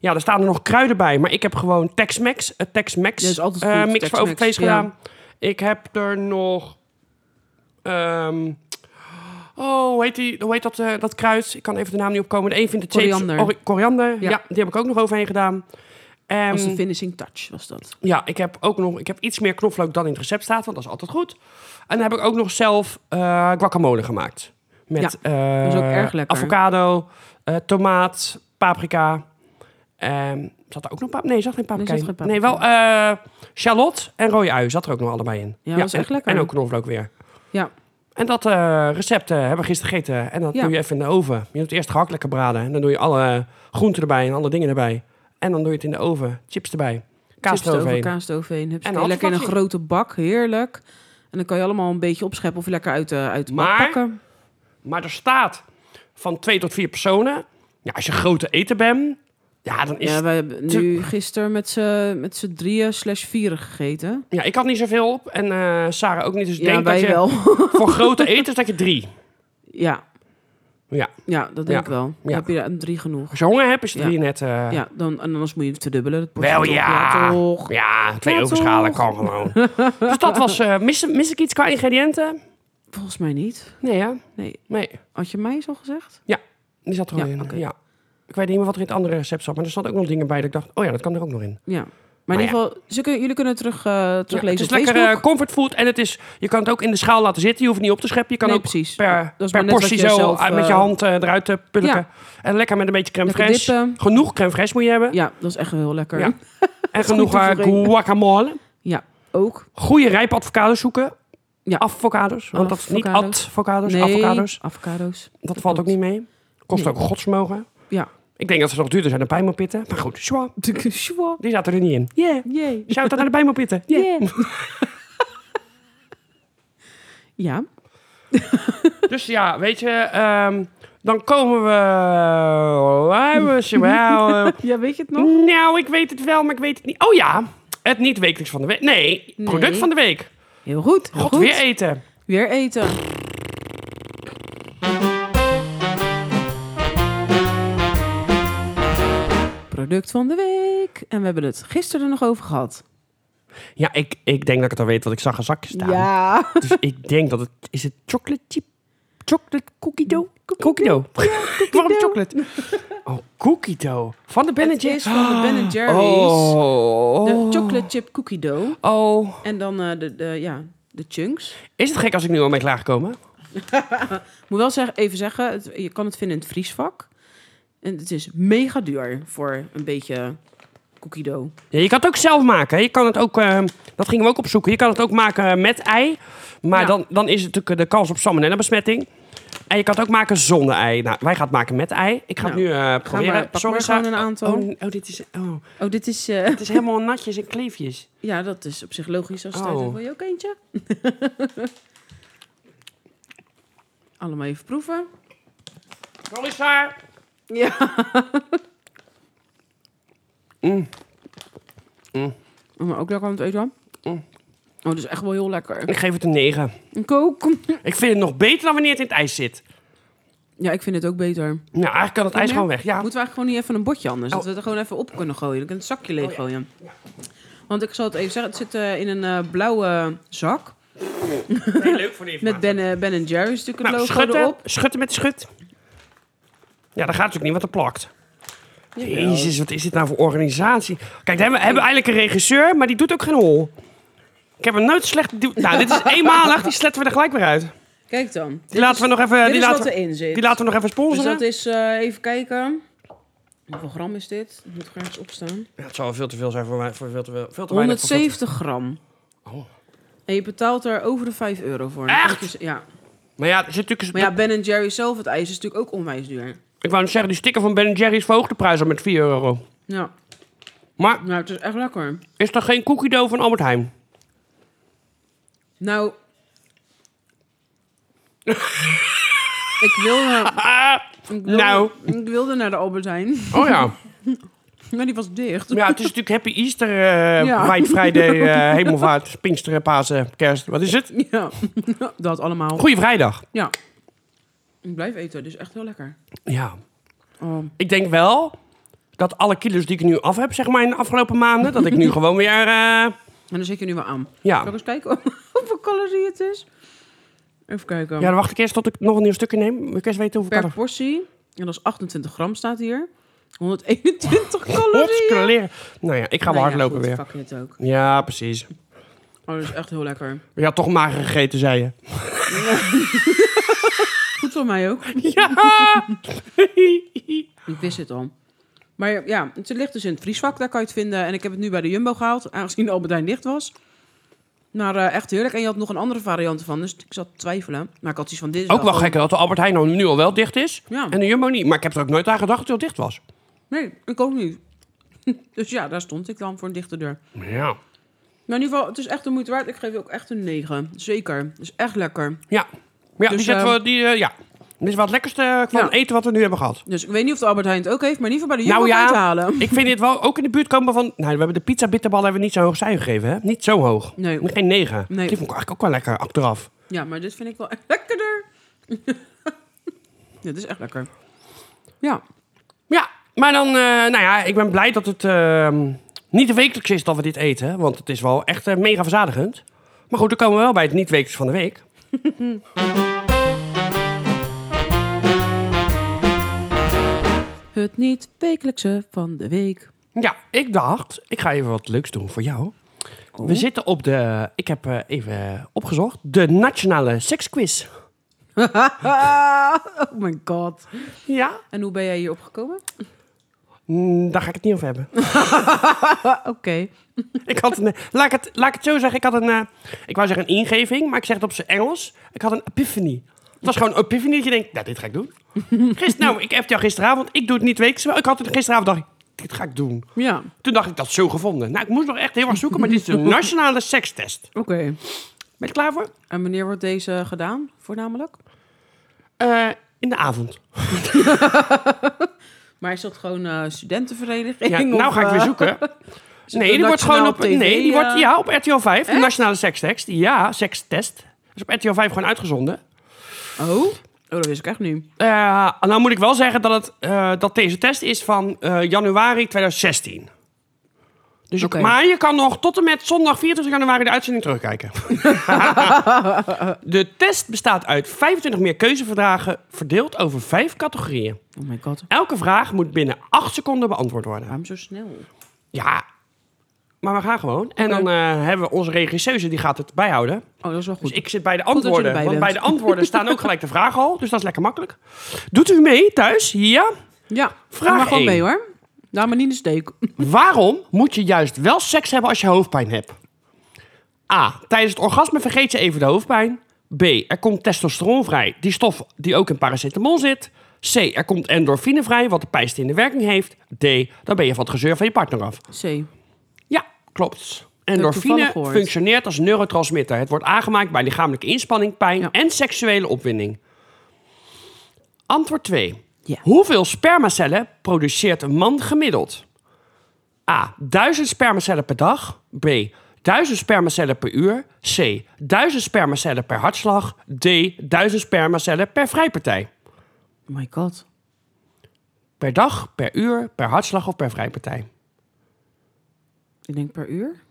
Speaker 1: ja, er staan er nog kruiden bij, maar ik heb gewoon Tex-Mex, eh, Tex-Mex
Speaker 2: Ja, is altijd
Speaker 1: eh,
Speaker 2: goed,
Speaker 1: mix voor
Speaker 2: Tex-Mex,
Speaker 1: overvlees
Speaker 2: ja.
Speaker 1: gedaan. Ik heb er nog. ehm, oh, hoe heet, die, hoe heet dat, eh, dat kruid? Ik kan even de naam niet opkomen. De een vindt het shapes-
Speaker 2: Koriander.
Speaker 1: ori- koriander, ja.
Speaker 2: Ja.
Speaker 1: die heb ik ook nog overheen gedaan. Ehm, En-
Speaker 2: Als de finishing touch was dat.
Speaker 1: ja, ik heb ook nog ik heb iets meer knoflook dan in het recept staat, want dat is altijd goed. En dan heb ik ook nog zelf eh, guacamole gemaakt. Met eh,
Speaker 2: dat is ook erg lekker.
Speaker 1: avocado, eh, tomaat, paprika. Ehm, zat er ook nog paprika? Nee, zat geen paprika
Speaker 2: Nee,
Speaker 1: in.
Speaker 2: zat geen
Speaker 1: Nee,
Speaker 2: paprika.
Speaker 1: wel eh shallot en rode ui zat er ook nog allebei in.
Speaker 2: Ja, dat is
Speaker 1: en,
Speaker 2: echt lekker.
Speaker 1: En ook knoflook weer.
Speaker 2: Ja.
Speaker 1: En dat eh, recept eh, hebben we gisteren gegeten. En dat
Speaker 2: Ja.
Speaker 1: doe je even in de oven. Je doet het eerst gehakt lekker braden. En dan doe je alle eh, groenten erbij en alle dingen erbij. En dan doe je het in de oven. Chips erbij. Kaas
Speaker 2: Chips eroverheen,
Speaker 1: eroverheen.
Speaker 2: kaas eroverheen. Hupsakee.
Speaker 1: En dan
Speaker 2: lekker in een
Speaker 1: had je-
Speaker 2: grote bak, heerlijk. En dan kan je allemaal een beetje opscheppen of lekker uit de, uit de bak
Speaker 1: Maar-
Speaker 2: pakken.
Speaker 1: Maar er staat van twee tot vier personen. Ja, als je grote eten bent, ja, dan is
Speaker 2: Ja,
Speaker 1: het-
Speaker 2: we hebben
Speaker 1: te-
Speaker 2: nu gisteren met z'n met z'n drieën slash vieren gegeten.
Speaker 1: ja, ik had niet zoveel op en eh Sarah ook niet. Dus ik
Speaker 2: ja,
Speaker 1: denk dat
Speaker 2: wij
Speaker 1: je
Speaker 2: wel.
Speaker 1: voor grote etens dat je drie.
Speaker 2: ja,
Speaker 1: Ja,
Speaker 2: ja, dat denk
Speaker 1: Ja,
Speaker 2: ik wel. Dan
Speaker 1: ja.
Speaker 2: heb je er drie genoeg.
Speaker 1: als je honger hebt, is het
Speaker 2: Ja.
Speaker 1: drie net. eh,
Speaker 2: Ja, dan, en anders moet je het verdubbelen. Het portie
Speaker 1: Wel
Speaker 2: toch,
Speaker 1: ja.
Speaker 2: toch.
Speaker 1: Ja, twee
Speaker 2: Ja,
Speaker 1: overschalen
Speaker 2: toch?
Speaker 1: kan gewoon. dus dat was. eh, mis, mis ik iets qua ingrediënten?
Speaker 2: Volgens mij niet.
Speaker 1: Nee, hè?
Speaker 2: Nee,
Speaker 1: Nee.
Speaker 2: had je mij zo gezegd?
Speaker 1: Die zat er
Speaker 2: Ja,
Speaker 1: gewoon in.
Speaker 2: oké.
Speaker 1: Ja. Ik weet niet meer wat er in het andere recept zat. Maar er zaten ook nog dingen bij dat ik dacht, oh ja, dat kan er ook nog in.
Speaker 2: Ja. Maar
Speaker 1: Maar
Speaker 2: in ieder geval, ze kunnen, jullie kunnen het terug, eh,
Speaker 1: Ja, het
Speaker 2: teruglezen
Speaker 1: is
Speaker 2: op
Speaker 1: lekker
Speaker 2: Facebook.
Speaker 1: eh, comfortfood en het is, je kan het ook in de schaal laten zitten. Je hoeft het niet op te scheppen. Je kan
Speaker 2: Nee,
Speaker 1: ook
Speaker 2: precies.
Speaker 1: per,
Speaker 2: Dat is
Speaker 1: per
Speaker 2: maar net
Speaker 1: portie
Speaker 2: wat
Speaker 1: zo
Speaker 2: je zelf,
Speaker 1: uit- met je
Speaker 2: eh,
Speaker 1: hand eh, eruit te pulken.
Speaker 2: Ja.
Speaker 1: En lekker met een beetje crème
Speaker 2: Lekker
Speaker 1: fraîche.
Speaker 2: dippen.
Speaker 1: Genoeg crème fraîche moet je hebben.
Speaker 2: Ja, dat is echt heel lekker.
Speaker 1: eh, Ja. en
Speaker 2: is goed
Speaker 1: genoeg eh,
Speaker 2: toevoeging.
Speaker 1: guacamole.
Speaker 2: Ja, ook.
Speaker 1: Goede rijpe avocados zoeken.
Speaker 2: Ja.
Speaker 1: Avocados. Want dat is niet
Speaker 2: Avocados.
Speaker 1: advocados,
Speaker 2: Nee,
Speaker 1: avocados.
Speaker 2: avocado's.
Speaker 1: Dat valt ook
Speaker 2: klopt.
Speaker 1: niet mee. Kost
Speaker 2: Nee.
Speaker 1: ook godsmogen.
Speaker 2: Ja.
Speaker 1: Ik denk dat ze nog duurder zijn dan pijnmopitten. Maar goed, zwa,
Speaker 2: Sjoe.
Speaker 1: die zaten er niet in. Yeah.
Speaker 2: Jee.
Speaker 1: Shout out naar de pijnmopitten. Yeah.
Speaker 2: Ja.
Speaker 1: Dus ja, weet je, ehm, dan komen we. eh, Waar was je wel? eh.
Speaker 2: Ja, weet je het nog?
Speaker 1: Nou, ik weet het wel, maar ik weet het niet. Oh ja, het niet wekelijks van de week. Nee, product
Speaker 2: Nee.
Speaker 1: van de week.
Speaker 2: Heel goed. heel
Speaker 1: God,
Speaker 2: goed.
Speaker 1: weer eten.
Speaker 2: Weer eten. Product van de week. En we hebben het gisteren er nog over gehad.
Speaker 1: Ja, ik, ik denk dat ik het al weet, want ik zag een zakje staan.
Speaker 2: Ja.
Speaker 1: Dus ik denk dat het. Is het chocolate chip? Chocolate cookie dough? Cookie dough. Waarom
Speaker 2: dough.
Speaker 1: chocolate? Oh, cookie dough. Van de Ben
Speaker 2: Het
Speaker 1: Jerry's.
Speaker 2: is van de Ben Jerry's.
Speaker 1: Oh.
Speaker 2: De chocolate chip cookie dough.
Speaker 1: Oh.
Speaker 2: En dan eh, de, de, ja, de chunks.
Speaker 1: Is het gek als ik nu al mee klaargekomen?
Speaker 2: Moet wel zeg, even zeggen, het- je kan het vinden in het vriesvak. En het is mega duur voor een beetje cookie dough.
Speaker 1: Ja, je kan het ook zelf maken. hè. Je kan het ook, ehm, dat gingen we ook opzoeken. Je kan het ook maken met ei. Maar
Speaker 2: Ja.
Speaker 1: dan, dan is het natuurlijk eh, de kans op salmonella besmetting. En je kan het ook maken zonder ei. Nou, wij gaan het maken met ei. Ik ga het
Speaker 2: Nou,
Speaker 1: nu eh, proberen.
Speaker 2: maar, pak maar
Speaker 1: Sarah.
Speaker 2: gewoon een aantal.
Speaker 1: Oh, oh, dit is, oh,
Speaker 2: Oh, dit is... eh,
Speaker 1: het is helemaal natjes en kleefjes.
Speaker 2: ja, dat is op zich logisch. Als het
Speaker 1: Oh.
Speaker 2: uit- Wil je ook eentje? Allemaal even proeven.
Speaker 1: Sorry, Saar.
Speaker 2: Ja.
Speaker 1: Mm.
Speaker 2: Oh, Maar ook lekker aan het eten. Oh, dat is echt wel heel lekker.
Speaker 1: Ik geef het een 9.
Speaker 2: Een kook.
Speaker 1: Ik vind het nog beter dan wanneer het in het ijs zit.
Speaker 2: Ja, ik vind het ook beter.
Speaker 1: Nou, eigenlijk kan het ijs
Speaker 2: meer?
Speaker 1: gewoon weg. Ja.
Speaker 2: Moeten we eigenlijk gewoon niet even een bordje anders? Dat
Speaker 1: Oh.
Speaker 2: we het er gewoon even op kunnen gooien. Dan kunnen we het zakje leeg gooien. Want ik zal het even zeggen. Het zit eh, in een eh, blauwe zak.
Speaker 1: Heel leuk voor die
Speaker 2: Met Ben, eh, ben Jerry's natuurlijk het
Speaker 1: nou,
Speaker 2: logo
Speaker 1: schutten,
Speaker 2: erop.
Speaker 1: schutten met de schut. Ja, dat gaat natuurlijk niet, want dat plakt. Jezus, wat is dit nou voor organisatie? Kijk, daar hebben, hebben we eigenlijk een regisseur, maar die doet ook geen hol. Ik heb hem nooit slecht... die- Nou, dit is eenmalig, die sletten we er gelijk weer uit. Die
Speaker 2: Kijk dan. Dit
Speaker 1: laten
Speaker 2: is,
Speaker 1: we nog even...
Speaker 2: dit
Speaker 1: Die
Speaker 2: is
Speaker 1: laten,
Speaker 2: wat erin zit.
Speaker 1: die laten we nog even
Speaker 2: dus
Speaker 1: sponsoren.
Speaker 2: dat is, eh, even kijken. Hoeveel gram is dit? Dat moet graag eens opstaan.
Speaker 1: Ja, het zal wel veel te veel zijn voor, mij, voor veel te, veel, veel te weinig. voor veel te-
Speaker 2: 170 gram. Oh. En je betaalt er over de 5 euro voor.
Speaker 1: Echt?
Speaker 2: Dus- Ja.
Speaker 1: Maar ja, er zit natuurlijk...
Speaker 2: Maar ja, Ben Jerry's zelf, het ijs, is natuurlijk ook onwijs duur.
Speaker 1: Ik wou net zeggen, die sticker van Ben Jerry's verhoogt de prijs al met 4 euro.
Speaker 2: Ja,
Speaker 1: Maar
Speaker 2: nou, het is echt lekker.
Speaker 1: is er geen cookie dough van Albert Heijn?
Speaker 2: Nou. ik, wilde,
Speaker 1: Ah,
Speaker 2: ik wilde-
Speaker 1: Nou.
Speaker 2: Ik wilde naar de Albert Heijn.
Speaker 1: oh ja.
Speaker 2: Maar die was dicht.
Speaker 1: Ja, het is natuurlijk Happy Easter, eh
Speaker 2: Ja.
Speaker 1: White Friday, eh, Hemelvaart, Pinksteren, Pasen, Kerst. Wat is het?
Speaker 2: Ja, dat allemaal.
Speaker 1: Goeie vrijdag.
Speaker 2: Ja. Ik blijf eten, dus echt heel lekker.
Speaker 1: Ja.
Speaker 2: Oh.
Speaker 1: Ik denk wel dat alle kilo's die ik nu af heb, zeg maar, in de afgelopen maanden, dat ik nu gewoon weer... eh,
Speaker 2: En dan zit je nu wel aan. Zal ik
Speaker 1: ja.
Speaker 2: eens kijken hoeveel calorie het is? Even kijken.
Speaker 1: ja, dan wacht ik eerst tot ik nog een nieuw stukje neem. Moet ik eerst weten hoeveel
Speaker 2: per
Speaker 1: kan
Speaker 2: portie. En dat is 28 gram staat hier. 121
Speaker 1: er...
Speaker 2: calorieën.
Speaker 1: Hotskeleer. Nou ja, ik ga wel
Speaker 2: Nou ja,
Speaker 1: hardlopen
Speaker 2: goed,
Speaker 1: weer.
Speaker 2: fuck it ook.
Speaker 1: Ja, precies.
Speaker 2: Oh, dat is echt heel lekker.
Speaker 1: Ja, toch mager gegeten, zei je.
Speaker 2: Goed voor mij ook.
Speaker 1: Ja!
Speaker 2: Ik wist het al. Maar ja, het ligt dus in het vriesvak, daar kan je het vinden. En ik heb het nu bij de Jumbo gehaald, aangezien de Albert Heijn dicht was. Maar eh, echt heerlijk. En je had nog een andere variant ervan, dus ik zat te twijfelen. Maar ik had iets van dit. is
Speaker 1: ook wel
Speaker 2: gewoon-
Speaker 1: gek dat de Albert Heijn nou nu al wel dicht is
Speaker 2: Ja.
Speaker 1: en de Jumbo niet. Maar ik heb er ook nooit aan gedacht dat hij al dicht was.
Speaker 2: Nee, ik ook niet. dus ja, daar stond ik dan voor een dichte deur.
Speaker 1: Ja.
Speaker 2: Maar in ieder geval, het is echt de moeite waard. Ik geef je ook echt een 9. Zeker. Het is echt lekker.
Speaker 1: Ja, ja
Speaker 2: Dus,
Speaker 1: die zetten we, die, eh, ja. Dit is wel het lekkerste eh, van
Speaker 2: Ja.
Speaker 1: eten wat we nu hebben gehad.
Speaker 2: Dus ik weet niet of de Albert Heijn het ook heeft, maar in ieder geval bij de Jumbo
Speaker 1: Nou
Speaker 2: kan
Speaker 1: ja.
Speaker 2: je het halen.
Speaker 1: Ik vind dit wel ook in de buurt komen van... Nou, we hebben de pizza bitterbal hebben we niet zo hoog cijfer gegeven, hè? Niet zo hoog.
Speaker 2: Nee.
Speaker 1: Geen 9.
Speaker 2: Nee.
Speaker 1: Die vond ik eigenlijk ook wel lekker achteraf.
Speaker 2: Ja, maar dit vind ik wel echt lekkerder. dit is echt lekker. Ja.
Speaker 1: Ja, maar dan... eh, nou ja, ik ben blij dat het ehm, niet de wekelijks is dat we dit eten. Want het is wel echt eh, mega verzadigend. Maar goed, dan komen we wel bij het niet wekelijks van de week.
Speaker 2: Het niet wekelijkse van de week.
Speaker 1: Ja, ik dacht, ik ga even wat leuks doen voor jou. We zitten op de, ik heb eh, even opgezocht, de Nationale Seksquiz.
Speaker 2: oh my god.
Speaker 1: Ja,
Speaker 2: En hoe ben jij hierop gekomen?
Speaker 1: Mm, daar ga ik het niet over hebben.
Speaker 2: Ah, Oké.
Speaker 1: ik had een, eh, laat, ik het, laat ik het zo zeggen, ik had een, eh, ik wou zeggen een ingeving, maar ik zeg het op zijn Engels. Ik had een epiphany. Het was gewoon een epiphany dat je denkt, nou, dit ga ik doen. Gister, nou, ik heb jou gisteravond, ik doe het niet wekelijks, maar ik had het gisteravond, dacht ik, dit ga ik doen.
Speaker 2: Ja,
Speaker 1: Toen dacht ik, dat is zo gevonden. Nou, ik moest nog echt heel erg zoeken, maar dit is de Nationale Sekstest.
Speaker 2: oké.
Speaker 1: Ben je er klaar voor?
Speaker 2: En wanneer wordt deze gedaan, voornamelijk?
Speaker 1: Eh, in de avond.
Speaker 2: Maar is dat gewoon eh, studentenvereniging?
Speaker 1: Ja, nou
Speaker 2: of,
Speaker 1: ga ik weer
Speaker 2: eh,
Speaker 1: zoeken.
Speaker 2: het
Speaker 1: Nee,
Speaker 2: een
Speaker 1: die wordt gewoon op,
Speaker 2: nationaal TV,
Speaker 1: nee, die
Speaker 2: eh?
Speaker 1: wordt, ja, op RTL 5, de Nationale Sekstekst. Ja, sekstest. Dus op RTL 5 gewoon uitgezonden.
Speaker 2: Oh? oh, dat wist ik echt niet.
Speaker 1: Eh, nou moet ik wel zeggen dat, het, eh, dat deze test is van eh, januari 2016. Dus je-
Speaker 2: Oké.
Speaker 1: maar je kan nog tot en met zondag 24 januari de uitzending terugkijken. de test bestaat uit 25 meer keuzeverdragen, verdeeld over vijf categorieën.
Speaker 2: Oh my god,
Speaker 1: Elke vraag moet binnen 8 seconden beantwoord worden.
Speaker 2: waarom zo snel? Oh,
Speaker 1: Ja, maar we gaan gewoon. En dan eh, hebben we onze regisseuse, die gaat het bijhouden.
Speaker 2: Oh, dat is wel goed.
Speaker 1: Dus ik zit bij de
Speaker 2: je
Speaker 1: antwoorden.
Speaker 2: erbij
Speaker 1: want
Speaker 2: bent.
Speaker 1: bij de antwoorden staan ook gelijk de vragen al. Dus dat is lekker makkelijk. Doet u mee thuis? Ja.
Speaker 2: Ja,
Speaker 1: Vraag
Speaker 2: maar gewoon
Speaker 1: één.
Speaker 2: mee hoor. Laat me niet in de steek.
Speaker 1: Waarom moet je juist wel seks hebben als je hoofdpijn hebt? A. Tijdens het orgasme vergeet je even de hoofdpijn. B. Er komt testosteron vrij, die stof die ook in paracetamol zit. C. Er komt endorfine vrij, wat de pijnstillende werking heeft. D. Dan ben je van het gezeur van je partner af.
Speaker 2: C.
Speaker 1: Ja, klopt.
Speaker 2: toevallig
Speaker 1: Endorfine
Speaker 2: gehoord.
Speaker 1: functioneert als neurotransmitter. Het wordt aangemaakt bij lichamelijke inspanning, pijn
Speaker 2: Ja.
Speaker 1: en seksuele opwinding. Antwoord 2.
Speaker 2: Ja.
Speaker 1: Hoeveel spermacellen produceert een man gemiddeld? A. 1000 spermacellen per dag. B. 1000 spermacellen per uur. C. 1000 spermacellen per hartslag. D. 1000 spermacellen per vrijpartij.
Speaker 2: Oh my god.
Speaker 1: Per dag, per uur, per hartslag of per vrijpartij?
Speaker 2: Ik denk per uur?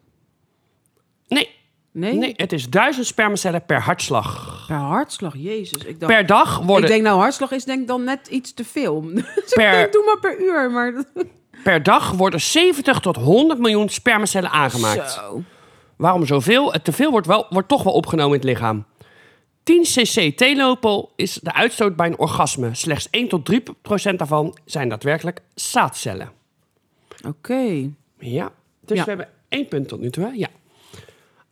Speaker 1: Nee,
Speaker 2: Nee?
Speaker 1: nee het is 1000 spermacellen per hartslag.
Speaker 2: Per hartslag, jezus. Ik, dacht,
Speaker 1: per dag
Speaker 2: ik
Speaker 1: worden,
Speaker 2: denk nou, hartslag is denk ik dan net iets te veel. Dus
Speaker 1: Per-
Speaker 2: ik denk, doe maar per uur. Maar...
Speaker 1: per dag worden 70 tot 100 miljoen spermacellen aangemaakt.
Speaker 2: Zo.
Speaker 1: Waarom zoveel? Het teveel wordt, wel, wordt toch wel opgenomen in het lichaam. 10 cc theelepel is de uitstoot bij een orgasme. Slechts 1 tot 3 procent daarvan zijn daadwerkelijk zaadcellen.
Speaker 2: Oké.
Speaker 1: Ja, dus
Speaker 2: Ja.
Speaker 1: we hebben één punt tot nu toe. Hè? Ja.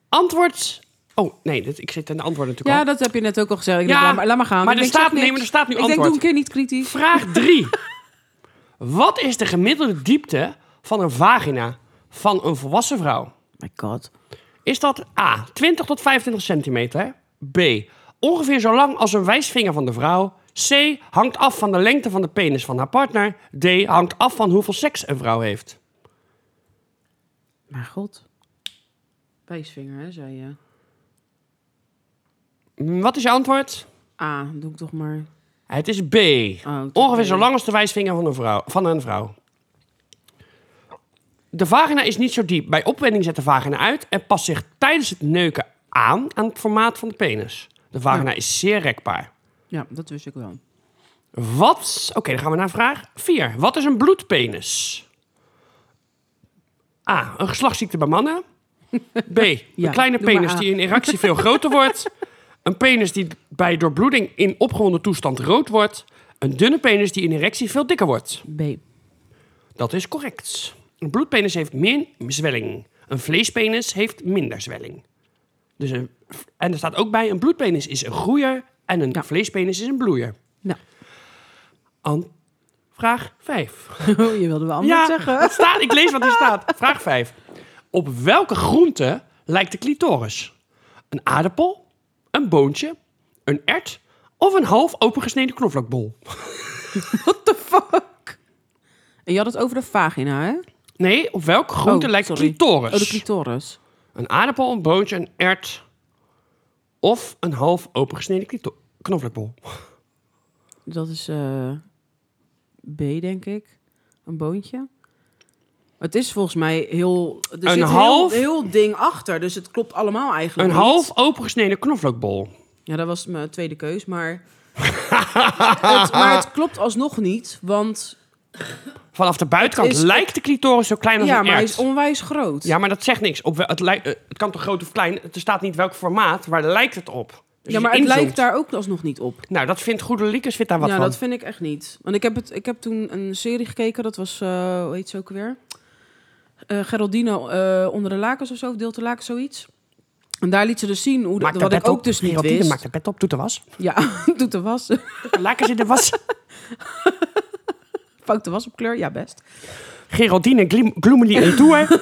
Speaker 1: Antwoord... Oh, nee, dit, ik zit aan de antwoorden natuurlijk
Speaker 2: Ja,
Speaker 1: al.
Speaker 2: dat heb je net ook al gezegd. Ik
Speaker 1: Ja,
Speaker 2: denk, laat, maar, laat maar gaan.
Speaker 1: maar
Speaker 2: Ik
Speaker 1: er
Speaker 2: denk, zeg
Speaker 1: staat- nee,
Speaker 2: niks.
Speaker 1: maar er staat nu
Speaker 2: Ik denk, doe een
Speaker 1: antwoord.
Speaker 2: keer niet kritisch.
Speaker 1: Vraag 3. Wat is de gemiddelde diepte van een vagina van een volwassen vrouw?
Speaker 2: Oh my god.
Speaker 1: is dat A, 20 tot 25 centimeter. B, ongeveer zo lang als een wijsvinger van de vrouw. C, hangt af van de lengte van de penis van haar partner. D, hangt af van hoeveel seks een vrouw heeft.
Speaker 2: Maar god. Wijsvinger, hè, zei je.
Speaker 1: Mm, Wat is je antwoord?
Speaker 2: Ah, doe ik toch maar.
Speaker 1: Het is B.
Speaker 2: Oh, toch
Speaker 1: Ongeveer zo
Speaker 2: weer.
Speaker 1: lang als de wijsvinger van een, vrouw, van een vrouw. De vagina is niet zo diep. Bij opwinding zet de vagina uit en past zich tijdens het neuken aan aan het formaat van de penis. De vagina is zeer rekbaar.
Speaker 2: Ja, dat wist ik wel.
Speaker 1: Wat? Oké, dan gaan we naar vraag 4. Wat is een bloedpenis? A. Een geslachtsziekte bij mannen. B.
Speaker 2: Ja,
Speaker 1: een kleine
Speaker 2: doe maar
Speaker 1: penis
Speaker 2: A.
Speaker 1: die in erectie veel groter wordt. Een penis die bij doorbloeding in opgewonden toestand rood wordt. Een dunne penis die in erectie veel dikker wordt.
Speaker 2: B.
Speaker 1: Dat is correct. Een bloedpenis heeft meer zwelling. Een vleespenis heeft minder zwelling. Dus een, en er staat ook bij: een bloedpenis is een groeier en een
Speaker 2: Ja.
Speaker 1: vleespenis is een bloeier.
Speaker 2: Nou,
Speaker 1: An- Vraag 5.
Speaker 2: je wilde wel anders zeggen.
Speaker 1: het staat, ik lees wat hier staat. Vraag 5. Op welke groente lijkt de clitoris? Een aardappel, een boontje, een ert of een half opengesneden knoflookbol?
Speaker 2: What the fuck? En je had het over de vagina, hè?
Speaker 1: Nee, op welke groente
Speaker 2: Oh,
Speaker 1: lijkt de
Speaker 2: sorry.
Speaker 1: clitoris?
Speaker 2: Oh, de clitoris.
Speaker 1: een aardappel, een boontje, een ert of een half opengesneden clito- knoflookbol?
Speaker 2: Dat is eh, B, denk ik. Een boontje. Het is volgens mij heel... Er zit heel-
Speaker 1: half-
Speaker 2: Heel, ding achter, dus het klopt allemaal eigenlijk
Speaker 1: Een
Speaker 2: niet.
Speaker 1: half opengesneden knoflookbol.
Speaker 2: Ja, dat was mijn tweede keus, maar... het, maar het klopt alsnog niet, want
Speaker 1: Vanaf de buitenkant
Speaker 2: Het is-
Speaker 1: lijkt de clitoris zo klein als
Speaker 2: Ja,
Speaker 1: een
Speaker 2: maar hij is
Speaker 1: erwt.
Speaker 2: onwijs groot.
Speaker 1: Ja, maar dat zegt niks. Op, wel- het, lijkt, eh, het kan toch groot of klein? Er staat niet welk formaat. Waar lijkt het op? Dus als
Speaker 2: Ja,
Speaker 1: je
Speaker 2: maar het
Speaker 1: inzoomt-
Speaker 2: lijkt daar ook alsnog niet op.
Speaker 1: Nou, dat vindt Goede Liekers vindt daar wat
Speaker 2: ja,
Speaker 1: van.
Speaker 2: dat vind ik echt niet. Want ik heb, het, ik heb toen een serie gekeken, dat was, eh, hoe heet ze ook weer? Eh Geraldine eh, onder de lakens of zo, of deelt de lakens, zoiets. En daar liet ze dus zien hoe,
Speaker 1: Maakt haar
Speaker 2: dat wat ik
Speaker 1: bed
Speaker 2: ook
Speaker 1: op.
Speaker 2: dus niet
Speaker 1: Geraldine
Speaker 2: wist.
Speaker 1: maakt haar bed op, doet de was.
Speaker 2: Ja, doet de was.
Speaker 1: Laken ze de was.
Speaker 2: Fout de was op kleur, ja best.
Speaker 1: Geraldine Glim- Gloomily en Tour.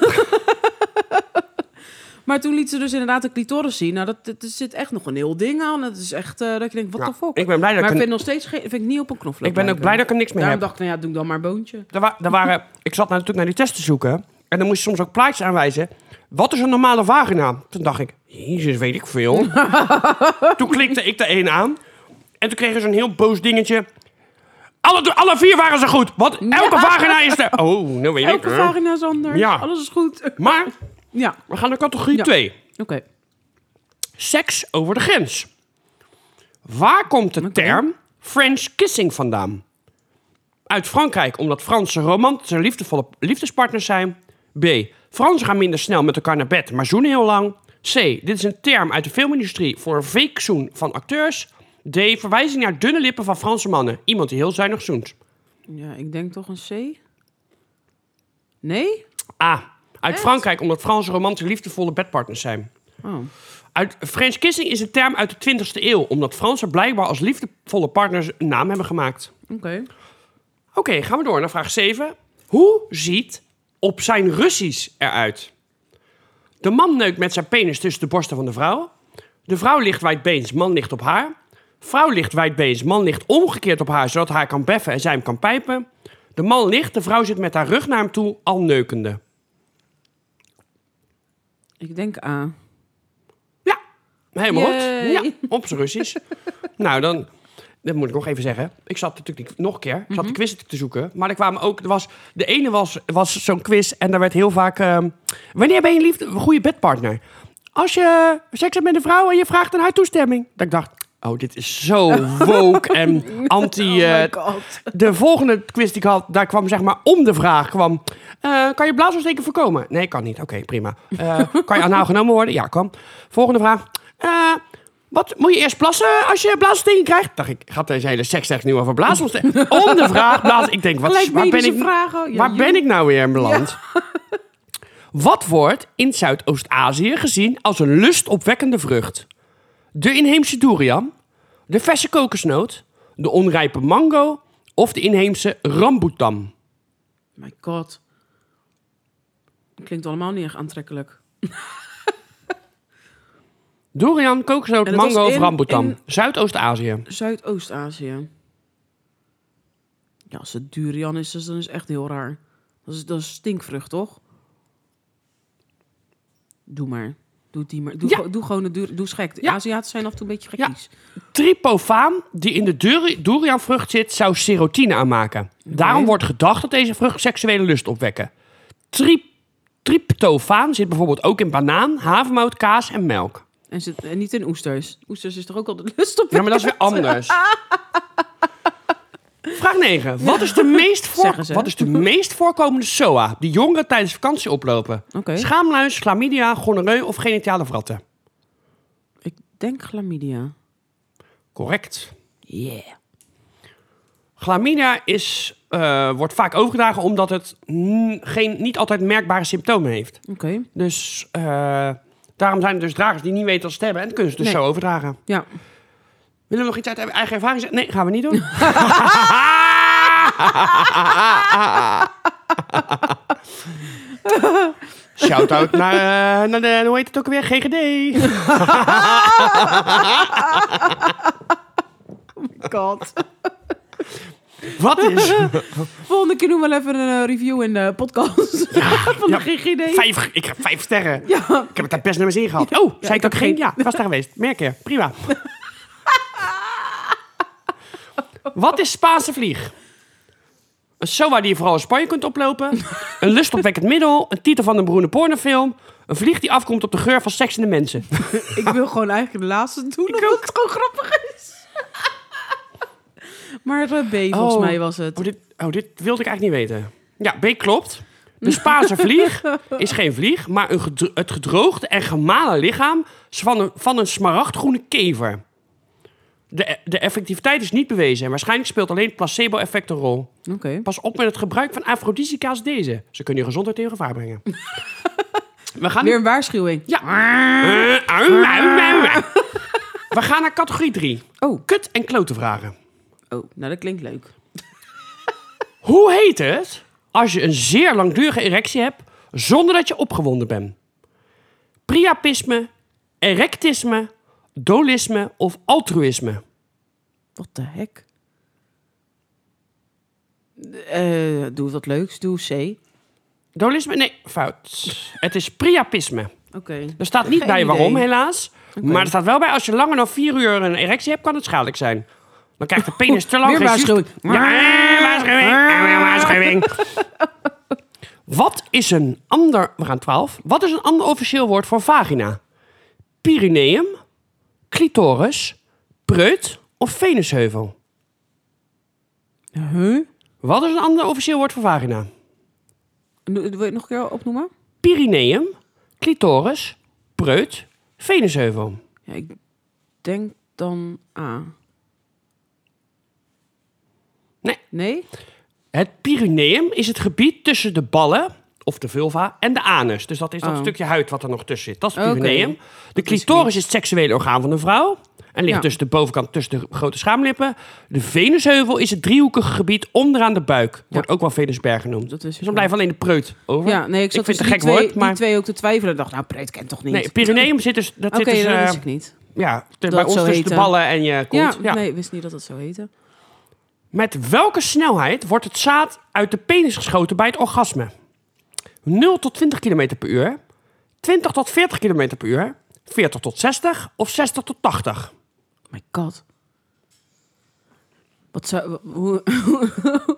Speaker 2: Maar toen liet ze dus inderdaad de clitoris zien. Nou, dat, dat- er zit echt nog een heel ding aan. Dat is echt, eh, dat je denkt, wat de fuck?
Speaker 1: ik ben blij dat ik...
Speaker 2: maar ik vind
Speaker 1: een-
Speaker 2: nog steeds geen, vind ik niet op een knoflook
Speaker 1: Ik ben ook
Speaker 2: lijken.
Speaker 1: blij dat ik er niks meer
Speaker 2: Daarom
Speaker 1: heb.
Speaker 2: dacht ik, nou ja, doe ik dan maar een boontje.
Speaker 1: Er, wa- er waren, ik zat natuurlijk naar die test te zoeken. En dan moest je soms ook plaatjes aanwijzen. Wat is een normale vagina? Toen dacht ik, jezus, weet ik veel. toen klikte ik er één aan. En toen kreeg je zo'n heel boos dingetje. Alle, alle vier waren ze goed. Wat? Elke vagina is er... Oh, nou weet
Speaker 2: Elke
Speaker 1: ik. hè.
Speaker 2: vagina is anders,
Speaker 1: Ja.
Speaker 2: alles is goed.
Speaker 1: Maar
Speaker 2: Ja,
Speaker 1: we gaan naar categorie
Speaker 2: Ja.
Speaker 1: 2.
Speaker 2: oké.
Speaker 1: Seks over de grens. Waar komt de term French kissing vandaan? Uit Frankrijk, omdat Fransen romantische en liefdevolle liefdespartners zijn. B. Fransen gaan minder snel met elkaar naar bed, maar zoenen heel lang. C. Dit is een term uit de filmindustrie voor een fake zoen van acteurs. D. Verwijzing naar dunne lippen van Franse mannen. Iemand die heel zuinig zoent.
Speaker 2: Ja, ik denk toch een C. Nee?
Speaker 1: A. Uit
Speaker 2: Echt?
Speaker 1: Frankrijk, omdat Fransen romantische en liefdevolle bedpartners zijn.
Speaker 2: Oh.
Speaker 1: Uit, French kissing is een term uit de 20e eeuw, omdat Fransen blijkbaar als liefdevolle partners een naam hebben gemaakt.
Speaker 2: Oké.
Speaker 1: Oké, gaan we door naar vraag 7. Hoe ziet op zijn Russisch eruit? De man neukt met zijn penis tussen de borsten van de vrouw. De vrouw ligt wijdbeens, man ligt op haar. Vrouw ligt wijdbeens, man ligt omgekeerd op haar, zodat hij kan beffen en zij hem kan pijpen. De man ligt, de vrouw zit met haar rug naar hem toe, al neukende.
Speaker 2: Ik denk A.
Speaker 1: Ja, helemaal
Speaker 2: Yay.
Speaker 1: goed. Ja, op zijn Russisch. nou, dan... Dat moet ik nog even zeggen. Ik zat natuurlijk niet- nog een keer. Ik zat
Speaker 2: Mhm.
Speaker 1: de quiz te zoeken. Maar er kwamen ook... Er was, de ene was, was zo'n quiz en daar werd heel vaak... ehm, wanneer ben je liefde, een goede bedpartner? Als je seks hebt met een vrouw en je vraagt aan haar toestemming. Dat ik dacht... Oh, dit is zo woke en anti... eh,
Speaker 2: Oh god.
Speaker 1: de volgende quiz die ik had, daar kwam zeg maar om de vraag kwam... eh, kan je blaasontsteking voorkomen? Nee, kan niet. Oké, prima. Eh, kan je anaal genomen worden? Ja, kan. Volgende vraag. Eh, wat, moet je eerst plassen als je blaasontsteking krijgt? Dacht ik, gaat deze hele sekstrecht nu over blaasontsteking? om de vraag blaas... Ik denk, wat,
Speaker 2: Gelijk
Speaker 1: waar ben
Speaker 2: medische
Speaker 1: ik...
Speaker 2: vragen. Ja,
Speaker 1: Waar
Speaker 2: joh.
Speaker 1: ben ik nou weer in beland? Wat wordt in Zuidoost-Azië gezien als een lustopwekkende vrucht? De inheemse durian, de verse kokosnoot, de onrijpe mango of de inheemse rambutan?
Speaker 2: My god. Klinkt allemaal niet erg aantrekkelijk.
Speaker 1: Durian, kokosnoot,
Speaker 2: En dat was
Speaker 1: mango of
Speaker 2: in-
Speaker 1: rambutan?
Speaker 2: in-
Speaker 1: Zuidoost-Azië.
Speaker 2: Zuidoost-Azië. Ja, als het durian is, dus dan is het echt heel raar. Dat is, dat is stinkvrucht, toch? Doe maar. Doe, die maar. Doe,
Speaker 1: Ja.
Speaker 2: gewoon- doe gewoon het duur, doe schek. De
Speaker 1: Ja.
Speaker 2: Aziaten zijn af en toe een beetje
Speaker 1: Ja.
Speaker 2: gekkies.
Speaker 1: Tripofaan, die in de duri- durianvrucht zit, zou serotine aanmaken. Daarom wordt gedacht dat deze vrucht seksuele lust opwekken. Tri- Tryptofaan zit bijvoorbeeld ook in banaan, havermout, kaas en melk.
Speaker 2: En, zit, en niet in oesters. Oesters is toch ook altijd lust op.
Speaker 1: Ja, maar dat is weer anders. Vraag 9. Wat is, de meest
Speaker 2: Zeggen ze.
Speaker 1: voor... wat is de meest voorkomende SOA die jongeren tijdens vakantie oplopen?
Speaker 2: Oké.
Speaker 1: Schaamluis, chlamydia, gonoreu of genitale vratten?
Speaker 2: Ik denk chlamydia.
Speaker 1: Correct.
Speaker 2: Yeah.
Speaker 1: Chlamydia is, eh, wordt vaak overgedragen omdat het n- geen, niet altijd merkbare symptomen heeft.
Speaker 2: Oké.
Speaker 1: Dus eh, daarom zijn er dus dragers die niet weten wat ze het hebben. En dan kunnen ze het dus
Speaker 2: Nee.
Speaker 1: zo overdragen.
Speaker 2: Ja.
Speaker 1: Willen we nog iets uit eigen ervaring zeggen? Nee, gaan we niet doen. Shout-out naar, eh, naar de, hoe heet het ook weer? GGD.
Speaker 2: God.
Speaker 1: Wat is?
Speaker 2: Volgende keer doen we wel even een eh, review in de podcast van
Speaker 1: ja,
Speaker 2: de GGD.
Speaker 1: Vijf, ik heb vijf sterren.
Speaker 2: Ja.
Speaker 1: Ik heb het daar best naar mijn zin gehad. Oh, zei
Speaker 2: ik
Speaker 1: ik ook
Speaker 2: ook
Speaker 1: geen?
Speaker 2: geen.
Speaker 1: Ja, was daar geweest. Merk je. Prima. Wat is Spaanse vlieg? Een SOA die je vooral in Spanje kunt oplopen. Een lustopwekkend middel. Een titel van een beroemde pornofilm. Een vlieg die afkomt op de geur van seks in de mensen.
Speaker 2: Ik wil gewoon eigenlijk de laatste doen, omdat het gewoon grappig is. Maar maar B, volgens
Speaker 1: Oh.
Speaker 2: mij was het.
Speaker 1: Oh dit, oh, dit wilde ik eigenlijk niet weten. Ja, B klopt. De Spaanse vlieg is geen vlieg, maar een gedro- het gedroogde en gemalen lichaam is van een, van een smaragdgroene kever. De, de effectiviteit is niet bewezen en waarschijnlijk speelt alleen het placebo-effect een rol.
Speaker 2: Oké.
Speaker 1: Pas op met het gebruik van afrodisica als deze. Ze kunnen je gezondheid in gevaar brengen. We gaan
Speaker 2: Weer een waarschuwing.
Speaker 1: Ja. Eh, au, au, au, au. We gaan naar categorie 3.
Speaker 2: Oh.
Speaker 1: Kut en klote vragen.
Speaker 2: Oh, nou dat klinkt leuk.
Speaker 1: Hoe heet het als je een zeer langdurige erectie hebt zonder dat je opgewonden bent? Priapisme, erectisme, dolisme of altruïsme?
Speaker 2: Wat de hek? Eh, doe wat leuks. Doe C. Oké.
Speaker 1: Dolisme? Nee, fout. Het is priapisme. Er staat niet
Speaker 2: Geen
Speaker 1: bij
Speaker 2: idee.
Speaker 1: waarom, helaas. Maar er staat wel bij als je langer dan vier uur een erectie hebt, kan het schadelijk zijn. Dan krijgt de penis te lang
Speaker 2: Weer
Speaker 1: geen zucht-
Speaker 2: waarschuwing.
Speaker 1: Ja, eh, waarschuwing. eh, waarschuwing. Wat is een ander... We gaan 12. Wat is een ander officieel woord voor vagina? Pyreneum, clitoris, preut of venusheuvel?
Speaker 2: Huh?
Speaker 1: Wat is een ander officieel woord voor vagina?
Speaker 2: Nu- Wil je het nog een keer opnoemen?
Speaker 1: Pyreneum, clitoris, preut, venusheuvel.
Speaker 2: Ja, ik denk dan A.
Speaker 1: Nee.
Speaker 2: Nee?
Speaker 1: Het Pyreneum is het gebied tussen de ballen, of de vulva, en de anus. Dus dat is dat
Speaker 2: Oh.
Speaker 1: stukje huid wat er nog tussen zit. Dat is het
Speaker 2: Oké.
Speaker 1: Pyreneum. De
Speaker 2: is
Speaker 1: clitoris is het seksuele orgaan van een vrouw. En ligt
Speaker 2: Ja.
Speaker 1: tussen de bovenkant, tussen de grote schaamlippen. De venusheuvel is het driehoekige gebied onderaan de buik. Wordt ook wel Venusberg genoemd.
Speaker 2: Dat is
Speaker 1: dus dan blijven alleen de preut over.
Speaker 2: Ja, nee, ik zat
Speaker 1: vind het
Speaker 2: tussen
Speaker 1: een gek
Speaker 2: die, twee,
Speaker 1: woord, maar...
Speaker 2: die twee ook te twijfelen. Ik dacht, nou, Preut kent toch niet?
Speaker 1: Nee, Pyreneum zit dus... Dat
Speaker 2: Oké,
Speaker 1: zit dus,
Speaker 2: dat
Speaker 1: eh,
Speaker 2: wist ik niet.
Speaker 1: ja, te-
Speaker 2: dat
Speaker 1: bij ons
Speaker 2: zo
Speaker 1: tussen de
Speaker 2: heette.
Speaker 1: ballen en je kont.
Speaker 2: Ja,
Speaker 1: Ja.
Speaker 2: nee, ik wist niet dat dat zo heette.
Speaker 1: Met welke snelheid wordt het zaad uit de penis geschoten bij het orgasme? 0 tot 20 km per uur, 20 tot 40 km per uur, 40 tot 60 of 60 tot 80?
Speaker 2: Oh my god. Wat zou, w- hoe,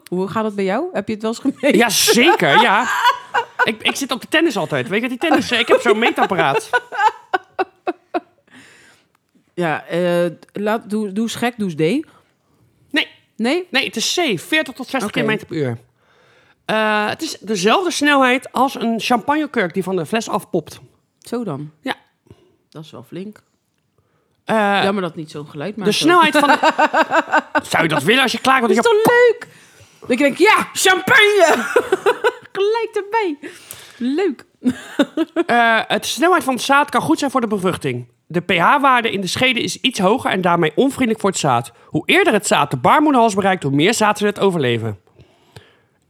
Speaker 2: hoe gaat dat bij jou? Heb je het wel eens gemeten?
Speaker 1: Jazeker, ja. Ik, ik zit op de tennis altijd. Weet je wat die tennis... eh, Ik heb zo'n meetapparaat.
Speaker 2: Ja, eh, laat, doe, doe eens gek, doe eens D.
Speaker 1: Nee,
Speaker 2: Nee?
Speaker 1: nee, het is C. 40 tot 60
Speaker 2: Oké.
Speaker 1: km per uur. Eh, het is dezelfde snelheid als een champagnekurk die van de fles afpopt.
Speaker 2: Zo dan.
Speaker 1: Ja.
Speaker 2: Dat is wel flink.
Speaker 1: Eh,
Speaker 2: Jammer dat niet zo'n geluid maakt.
Speaker 1: de snelheid van... De... Zou je dat willen als je klaar
Speaker 2: Dat
Speaker 1: wordt?
Speaker 2: is toch leuk? Dat ik denk, ja, champagne! Gelijk erbij. Leuk.
Speaker 1: Eh, het snelheid van het zaad kan goed zijn voor de bevruchting. De pH-waarde in de schede is iets hoger en daarmee onvriendelijk voor het zaad. Hoe eerder het zaad de baarmoederhals bereikt, hoe meer zaadcellen het overleven.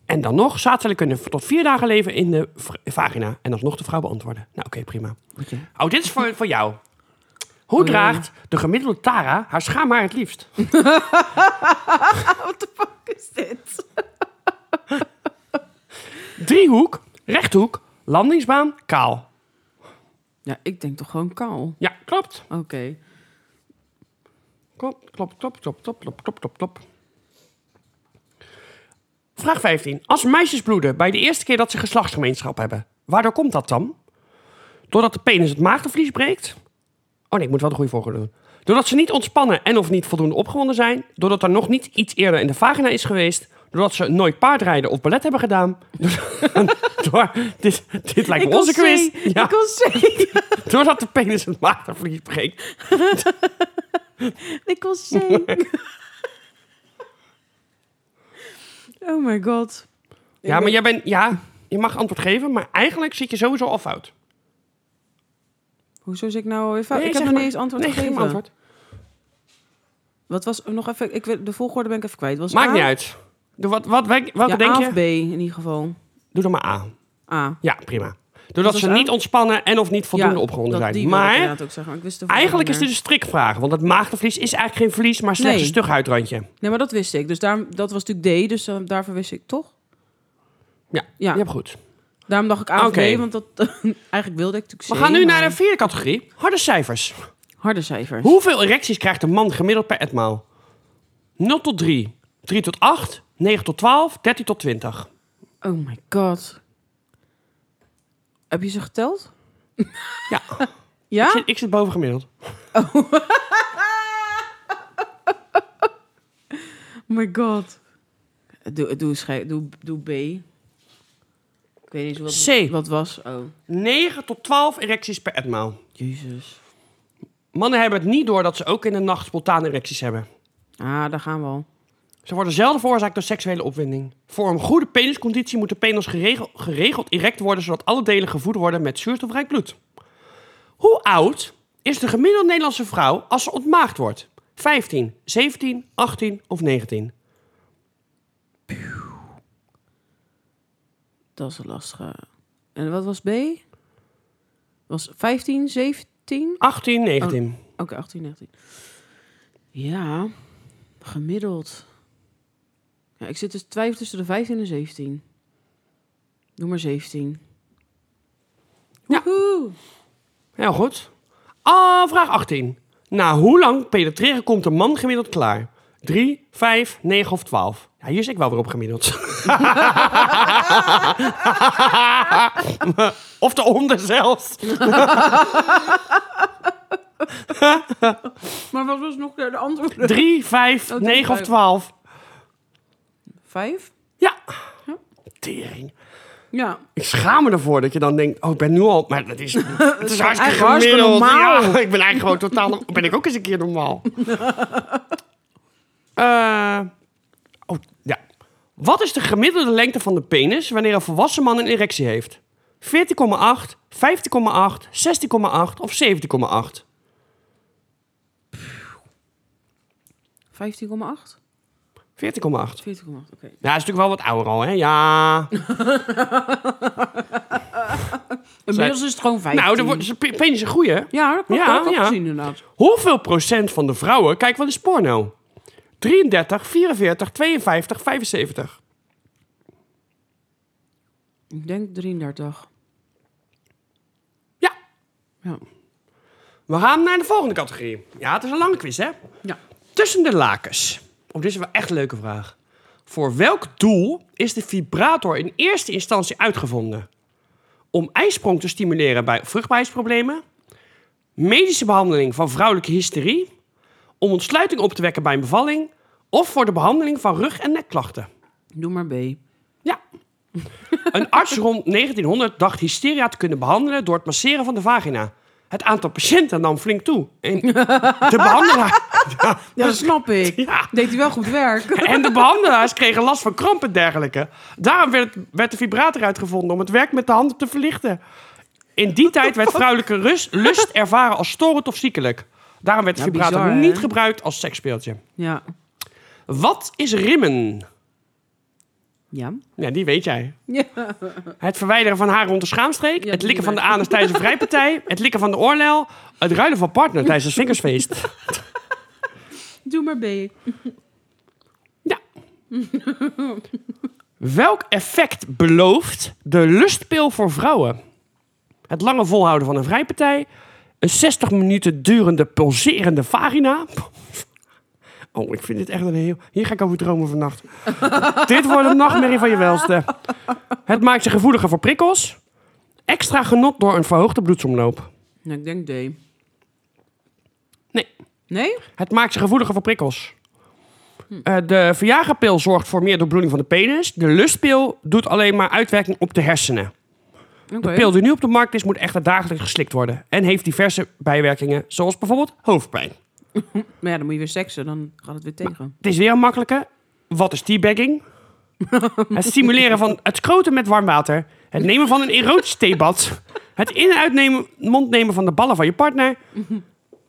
Speaker 1: En dan nog, zaadcellen kunnen tot vier dagen leven in de v- vagina. En alsnog de vrouw beantwoorden. Nou, oké, prima. Oh, dit is voor, voor jou. Hoe
Speaker 2: Oh, ja.
Speaker 1: draagt de gemiddelde Tara haar schaamhaar het liefst?
Speaker 2: What the fuck is dit?
Speaker 1: Driehoek, rechthoek, landingsbaan, kaal.
Speaker 2: Ja, ik denk toch gewoon kaal.
Speaker 1: Ja, klopt.
Speaker 2: Oké.
Speaker 1: Klopt, klopt, klopt, klopt, klopt, klopt, klopt, klopt, klopt. Vraag 15. Als meisjes bloeden bij de eerste keer dat ze geslachtsgemeenschap hebben, waardoor komt dat dan? Doordat de penis het maagdenvlies breekt? Oh nee, ik moet wel de goede volgorde doen. Doordat ze niet ontspannen en of niet voldoende opgewonden zijn. Doordat er nog niet iets eerder in de vagina is geweest. Doordat ze nooit paardrijden of ballet hebben gedaan. Door, dit, dit lijkt me onze
Speaker 2: kon
Speaker 1: quiz.
Speaker 2: C. Ik kon C.
Speaker 1: Doordat de penis het maagdenvlies breekt.
Speaker 2: Ik was C. oh my god.
Speaker 1: Ja, maar jij bent, ja, je mag antwoord geven, maar eigenlijk zit je sowieso al fout.
Speaker 2: Hoezo zit ik nou even...
Speaker 1: Nee,
Speaker 2: ik heb
Speaker 1: zeg
Speaker 2: nog
Speaker 1: maar.
Speaker 2: niet eens antwoord
Speaker 1: nee, geef
Speaker 2: gegeven.
Speaker 1: hem antwoord.
Speaker 2: Wat was er nog even... Ik, weet- de volgorde ben ik even kwijt. Was
Speaker 1: Dus Maakt
Speaker 2: A?
Speaker 1: niet uit. Doe wat, wat, welke
Speaker 2: Ja,
Speaker 1: denk
Speaker 2: A
Speaker 1: je?
Speaker 2: of B in ieder geval.
Speaker 1: Doe dan maar A.
Speaker 2: A.
Speaker 1: Ja, prima. Doordat
Speaker 2: was
Speaker 1: ze
Speaker 2: A?
Speaker 1: niet ontspannen en of niet voldoende
Speaker 2: Ja,
Speaker 1: opgewonden
Speaker 2: dat
Speaker 1: zijn.
Speaker 2: Die wilde ik
Speaker 1: Maar
Speaker 2: inderdaad ook zeggen, maar ik wist de
Speaker 1: eigenlijk is dit
Speaker 2: volgorde
Speaker 1: een strikvraag, want het maagdenvlies is eigenlijk geen vlies, maar slechts
Speaker 2: Nee.
Speaker 1: een stug huidrandje.
Speaker 2: Nee, maar dat wist ik. Dus daar, dat was natuurlijk D, dus eh, daarvoor wist ik toch.
Speaker 1: Ja,
Speaker 2: Ja.
Speaker 1: je hebt goed.
Speaker 2: Daarom dacht ik A of
Speaker 1: Oké.
Speaker 2: B, want dat, eigenlijk wilde ik natuurlijk C.
Speaker 1: We gaan nu
Speaker 2: maar-
Speaker 1: naar de vierde categorie, harde cijfers.
Speaker 2: Harde cijfers.
Speaker 1: Hoeveel erecties krijgt een man gemiddeld per etmaal? 0 tot 3, 3 tot 8, 9 tot 12, 13 tot 20.
Speaker 2: Oh my god. Heb je ze geteld?
Speaker 1: Ja, ik,
Speaker 2: Ja?
Speaker 1: zit, ik zit boven gemiddeld.
Speaker 2: Oh my god. Doe, doe, schij- doe, doe B. Ik weet niet eens wat,
Speaker 1: C.
Speaker 2: wat was. Oh,
Speaker 1: 9 tot 12 erecties per etmaal.
Speaker 2: jezus.
Speaker 1: Mannen hebben het niet door dat ze ook in de nacht spontaan erecties hebben.
Speaker 2: Ah, daar gaan we al.
Speaker 1: Ze worden zelden veroorzaakt door seksuele opwinding. Voor een goede penisconditie moet de penis geregel- geregeld erect worden... zodat alle delen gevoed worden met zuurstofrijk bloed. Hoe oud is de gemiddelde Nederlandse vrouw als ze ontmaagd wordt? 15, 17, 18 of 19?
Speaker 2: Dat is een lastige. En wat was B? Was 15, 17?
Speaker 1: 18, 19.
Speaker 2: Oké, 18, 19. Ja, gemiddeld. Ja, ik zit dus twijfel tussen de 15 en 17. Doe maar 17.
Speaker 1: Ja.
Speaker 2: Woehoe.
Speaker 1: Heel goed. Ah, vraag 18. Na hoe lang penetreren komt een man gemiddeld klaar? 3, 5, 9 of 12? Ja, hier zit ik wel weer op gemiddeld. of de onder zelfs.
Speaker 2: Maar wat was nog eh, de antwoord?
Speaker 1: 3, 5,
Speaker 2: Oh, drie,
Speaker 1: 9 of
Speaker 2: vijf.
Speaker 1: 12?
Speaker 2: Vijf?
Speaker 1: Ja. Tering.
Speaker 2: Ja.
Speaker 1: Ik schaam me ervoor dat je dan denkt, oh, ik ben nu al... Maar dat is, het is hartstikke
Speaker 2: eigenlijk hartstikke
Speaker 1: gemiddeld.
Speaker 2: normaal.
Speaker 1: Ja, ik ben eigenlijk gewoon totaal... norm- Ben ik ook eens een keer normaal. Eh, oh, ja. Wat is de gemiddelde lengte van de penis wanneer een volwassen man een erectie heeft? 14,8, 15,8, 16,8 of 17,8?
Speaker 2: 15,8?
Speaker 1: 14,8.
Speaker 2: 14,8, oké.
Speaker 1: Ja, is natuurlijk wel wat ouder al, hè? Ja.
Speaker 2: Inmiddels is het gewoon 15.
Speaker 1: Nou, er wordt, ze- pe- penis is een goeie, hè?
Speaker 2: Ja, dat klopt.
Speaker 1: Ja,
Speaker 2: dat heb ik
Speaker 1: ja.
Speaker 2: ook gezien inderdaad.
Speaker 1: Hoeveel procent van de vrouwen kijkt wel eens porno? 33, 44, 52, 75.
Speaker 2: Ik denk 33.
Speaker 1: Ja,
Speaker 2: Ja.
Speaker 1: we gaan naar de volgende categorie. Ja, het is een lange quiz, hè?
Speaker 2: Ja.
Speaker 1: Tussen de lakens. Oh, dit is wel echt een leuke vraag. Voor welk doel is de vibrator in eerste instantie uitgevonden? Om ijsprong te stimuleren bij vruchtbaarheidsproblemen? Medische behandeling van vrouwelijke hysterie? Om ontsluiting op te wekken bij een bevalling? Of voor de behandeling van rug- en nekklachten?
Speaker 2: Doe maar B.
Speaker 1: Ja. Een arts rond 1900 dacht hysteria te kunnen behandelen door het masseren van de vagina. Het aantal patiënten nam flink toe. En de, behandelaar,
Speaker 2: Ja, dat snap ik.
Speaker 1: Ja.
Speaker 2: Deed hij wel goed werk.
Speaker 1: en de behandelaars kregen last van krampen en dergelijke. Daarom werd, werd de vibrator uitgevonden om het werk met de handen te verlichten. In die tijd werd vrouwelijke rust, lust ervaren als storend of ziekelijk. Daarom werd de
Speaker 2: Ja,
Speaker 1: vibrator
Speaker 2: bizar, hè?
Speaker 1: niet gebruikt als seksspeeltje.
Speaker 2: Ja.
Speaker 1: Wat is rimmen?
Speaker 2: Ja.
Speaker 1: Ja, die weet jij.
Speaker 2: Ja.
Speaker 1: Het verwijderen van haar rond de schaamstreek.
Speaker 2: Ja,
Speaker 1: het
Speaker 2: die
Speaker 1: likken van de
Speaker 2: maar.
Speaker 1: anus tijdens een vrijpartij. Het likken van de oorlel. Het ruilen van partner tijdens een vingersfeest.
Speaker 2: Doe maar B.
Speaker 1: Ja. Welk effect belooft de lustpil voor vrouwen? Het lange volhouden van een vrijpartij. Een 60 minuten durende pulserende vagina. Oh, ik vind dit echt een heel... Hier ga ik over dromen vannacht. dit wordt een nachtmerrie van je welste. Het maakt je gevoeliger voor prikkels. Extra genot door een verhoogde bloedsomloop.
Speaker 2: Nou, ik denk D.
Speaker 1: Nee.
Speaker 2: Nee?
Speaker 1: Het maakt ze gevoeliger voor prikkels. Eh, de verjagerpil zorgt voor meer doorbloeding van de penis. De lustpil doet alleen maar uitwerking op de hersenen.
Speaker 2: Oké.
Speaker 1: De pil die nu op de markt is, moet echter dagelijks geslikt worden. En heeft diverse bijwerkingen, zoals bijvoorbeeld hoofdpijn.
Speaker 2: Maar ja, dan moet je weer seksen, dan gaat het weer tegen.
Speaker 1: Het is weer een makkelijke. Wat is teabagging? het stimuleren van het kroten met warm water. Het nemen van een erotisch theebad. Het in- en uitnemen, mondnemen van de ballen van je partner.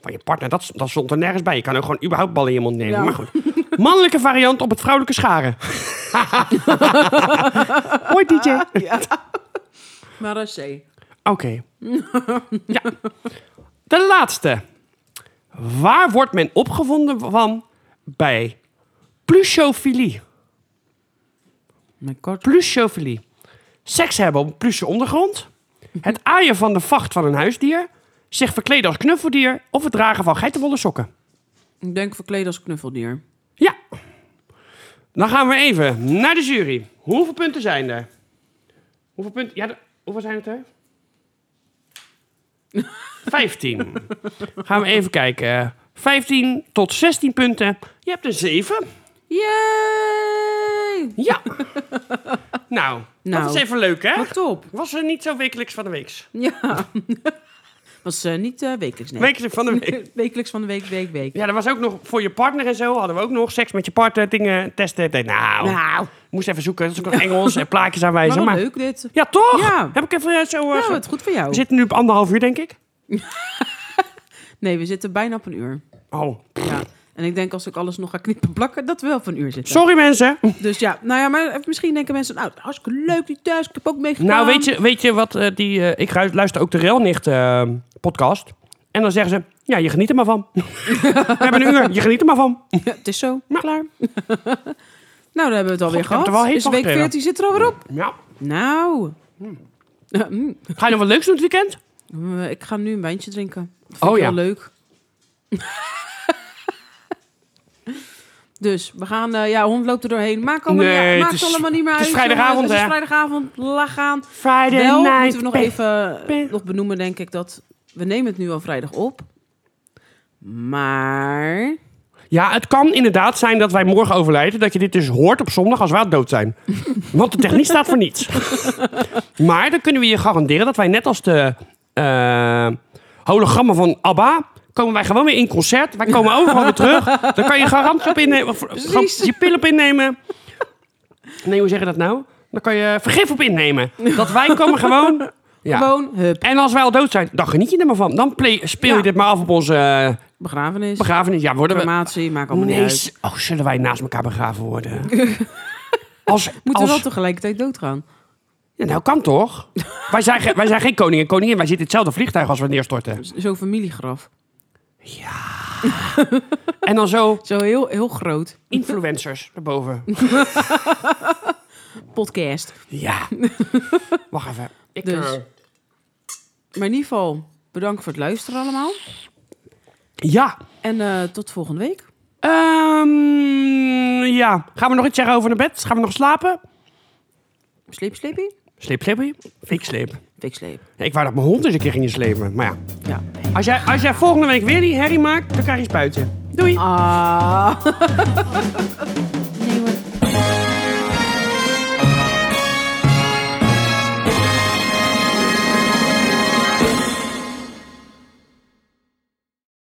Speaker 1: Van je partner, dat, dat stond er nergens bij. Je kan ook gewoon überhaupt ballen in je mond nemen.
Speaker 2: Ja.
Speaker 1: Maar goed. Mannelijke variant op het vrouwelijke scharen. Hoi DJ. Oké.
Speaker 2: Maar dat is C.
Speaker 1: ja. De laatste. Waar wordt men opgevonden van bij pluchofilie?
Speaker 2: Mijn kort.
Speaker 1: pluschofilie. Seks hebben op een plusje ondergrond. Het aaien van de vacht van een huisdier. Zich verkleden als knuffeldier. Of het dragen van geitenwolle sokken.
Speaker 2: Ik denk verkleed als knuffeldier.
Speaker 1: Ja. Dan gaan we even naar de jury. Hoeveel punten zijn er? Hoeveel punten? Ja, de- hoeveel zijn het er? Vijftien. Gaan we even kijken. 15 tot 16 punten. Je hebt er 7.
Speaker 2: Yay!
Speaker 1: Ja. nou,
Speaker 2: Nou.
Speaker 1: dat is even leuk, hè?
Speaker 2: Wat top.
Speaker 1: Was er niet zo wekelijks van de week?
Speaker 2: Ja. Was eh, niet eh, wekelijks, nee.
Speaker 1: Wekelijks van de week.
Speaker 2: wekelijks van de week, week, week.
Speaker 1: Ja, er was ook nog voor je partner en zo. Hadden we ook nog seks met je partner, dingen testen. Ik dacht, nou,
Speaker 2: Nou,
Speaker 1: moest even zoeken. Dat is ook nog Engels en plaatjes aanwijzen.
Speaker 2: maar
Speaker 1: Maar,
Speaker 2: wat leuk dit.
Speaker 1: Ja, toch?
Speaker 2: Ja. Nou,
Speaker 1: Heb ik even eh, zo... eh,
Speaker 2: Ja,
Speaker 1: ge-
Speaker 2: wat goed voor jou.
Speaker 1: We zitten nu op anderhalf uur, denk ik.
Speaker 2: Nee, we zitten bijna op een uur.
Speaker 1: Oh,
Speaker 2: Ja. En ik denk als ik alles nog ga knippen en plakken, dat we wel op een uur zitten.
Speaker 1: sorry mensen.
Speaker 2: Dus ja, nou ja, maar misschien denken mensen, nou, hartstikke leuk die thuis, ik heb ook meegedaan.
Speaker 1: Nou, weet je, weet je wat eh, die... eh, ik ru- luister ook de Relnicht eh, podcast. En dan zeggen ze... Ja, je geniet er maar van. We hebben een uur. Je geniet er maar van.
Speaker 2: Ja, het is zo,
Speaker 1: Ja.
Speaker 2: klaar. nou, daar hebben we het alweer
Speaker 1: ik heb
Speaker 2: gehad.
Speaker 1: er wel heet
Speaker 2: is
Speaker 1: van
Speaker 2: week
Speaker 1: gekregen.
Speaker 2: 14 zit er alweer op.
Speaker 1: Ja.
Speaker 2: Nou,
Speaker 1: Hmm.
Speaker 2: Eh, mm.
Speaker 1: Ga je nog wat leuks doen dit weekend?
Speaker 2: Eh, ik ga nu een wijntje drinken. Dat vind
Speaker 1: Oh
Speaker 2: ik
Speaker 1: ja.
Speaker 2: wel leuk. dus, we gaan, eh, ja, hond loopt er doorheen. Maakt allemaal,
Speaker 1: Nee,
Speaker 2: niet,
Speaker 1: het
Speaker 2: maakt
Speaker 1: is-
Speaker 2: allemaal niet meer
Speaker 1: het
Speaker 2: uit.
Speaker 1: is vrijdagavond,
Speaker 2: jongens. Het is
Speaker 1: hè?
Speaker 2: vrijdagavond, laag aan.
Speaker 1: Friday
Speaker 2: Wel
Speaker 1: night.
Speaker 2: moeten we nog
Speaker 1: babe.
Speaker 2: even
Speaker 1: Pe-
Speaker 2: nog benoemen, denk ik, dat we nemen het nu al vrijdag op. Maar
Speaker 1: Ja, het kan inderdaad zijn dat wij morgen overlijden. Dat je dit dus hoort op zondag als wij dood zijn. Want de techniek staat voor niets. maar dan kunnen we je garanderen dat wij net als de eh, hologrammen van ABBA... komen wij gewoon weer in concert. Wij komen overal weer terug. Dan kan je garantie op innemen. of, gewoon Je pil op innemen. Nee, hoe zeg je dat nou? Dan kan je vergif op innemen. Dat wij komen gewoon... Ja.
Speaker 2: gewoon, hup,
Speaker 1: En als wij al dood zijn, dan geniet je er maar van. Dan play- speel je
Speaker 2: Ja.
Speaker 1: dit maar af op onze eh,
Speaker 2: begrafenis,
Speaker 1: begrafenis. Ja, worden we,
Speaker 2: crematie, maakt allemaal
Speaker 1: nee,
Speaker 2: niet uit.
Speaker 1: z- oh, zullen wij naast elkaar begraven worden? als,
Speaker 2: Moeten
Speaker 1: als,
Speaker 2: we wel tegelijkertijd doodgaan?
Speaker 1: Ja, nou, kan toch? wij, zijn, ge- wij zijn geen koning en koningin. Wij zitten in hetzelfde vliegtuig als we neerstorten.
Speaker 2: Z- Zo'n familiegraf.
Speaker 1: En dan zo
Speaker 2: Zo heel, heel groot.
Speaker 1: influencers erboven.
Speaker 2: Podcast.
Speaker 1: Ja. Wacht even. Ik,
Speaker 2: Dus.
Speaker 1: eh,
Speaker 2: Maar in ieder geval, bedankt voor het luisteren allemaal.
Speaker 1: ja.
Speaker 2: En eh, tot volgende week.
Speaker 1: Ehm, ja. Gaan we nog iets zeggen over naar bed? Gaan we nog slapen?
Speaker 2: Sleep, sleepie.
Speaker 1: Sleep, sleepie? Ik sleep.
Speaker 2: Fik sleep.
Speaker 1: Ja, ik wou dat mijn hond eens een keer ging slepen. Maar ja.
Speaker 2: Ja.
Speaker 1: Als jij, als jij volgende week weer die herrie maakt, dan krijg je spuiten. Doei.
Speaker 2: Ah.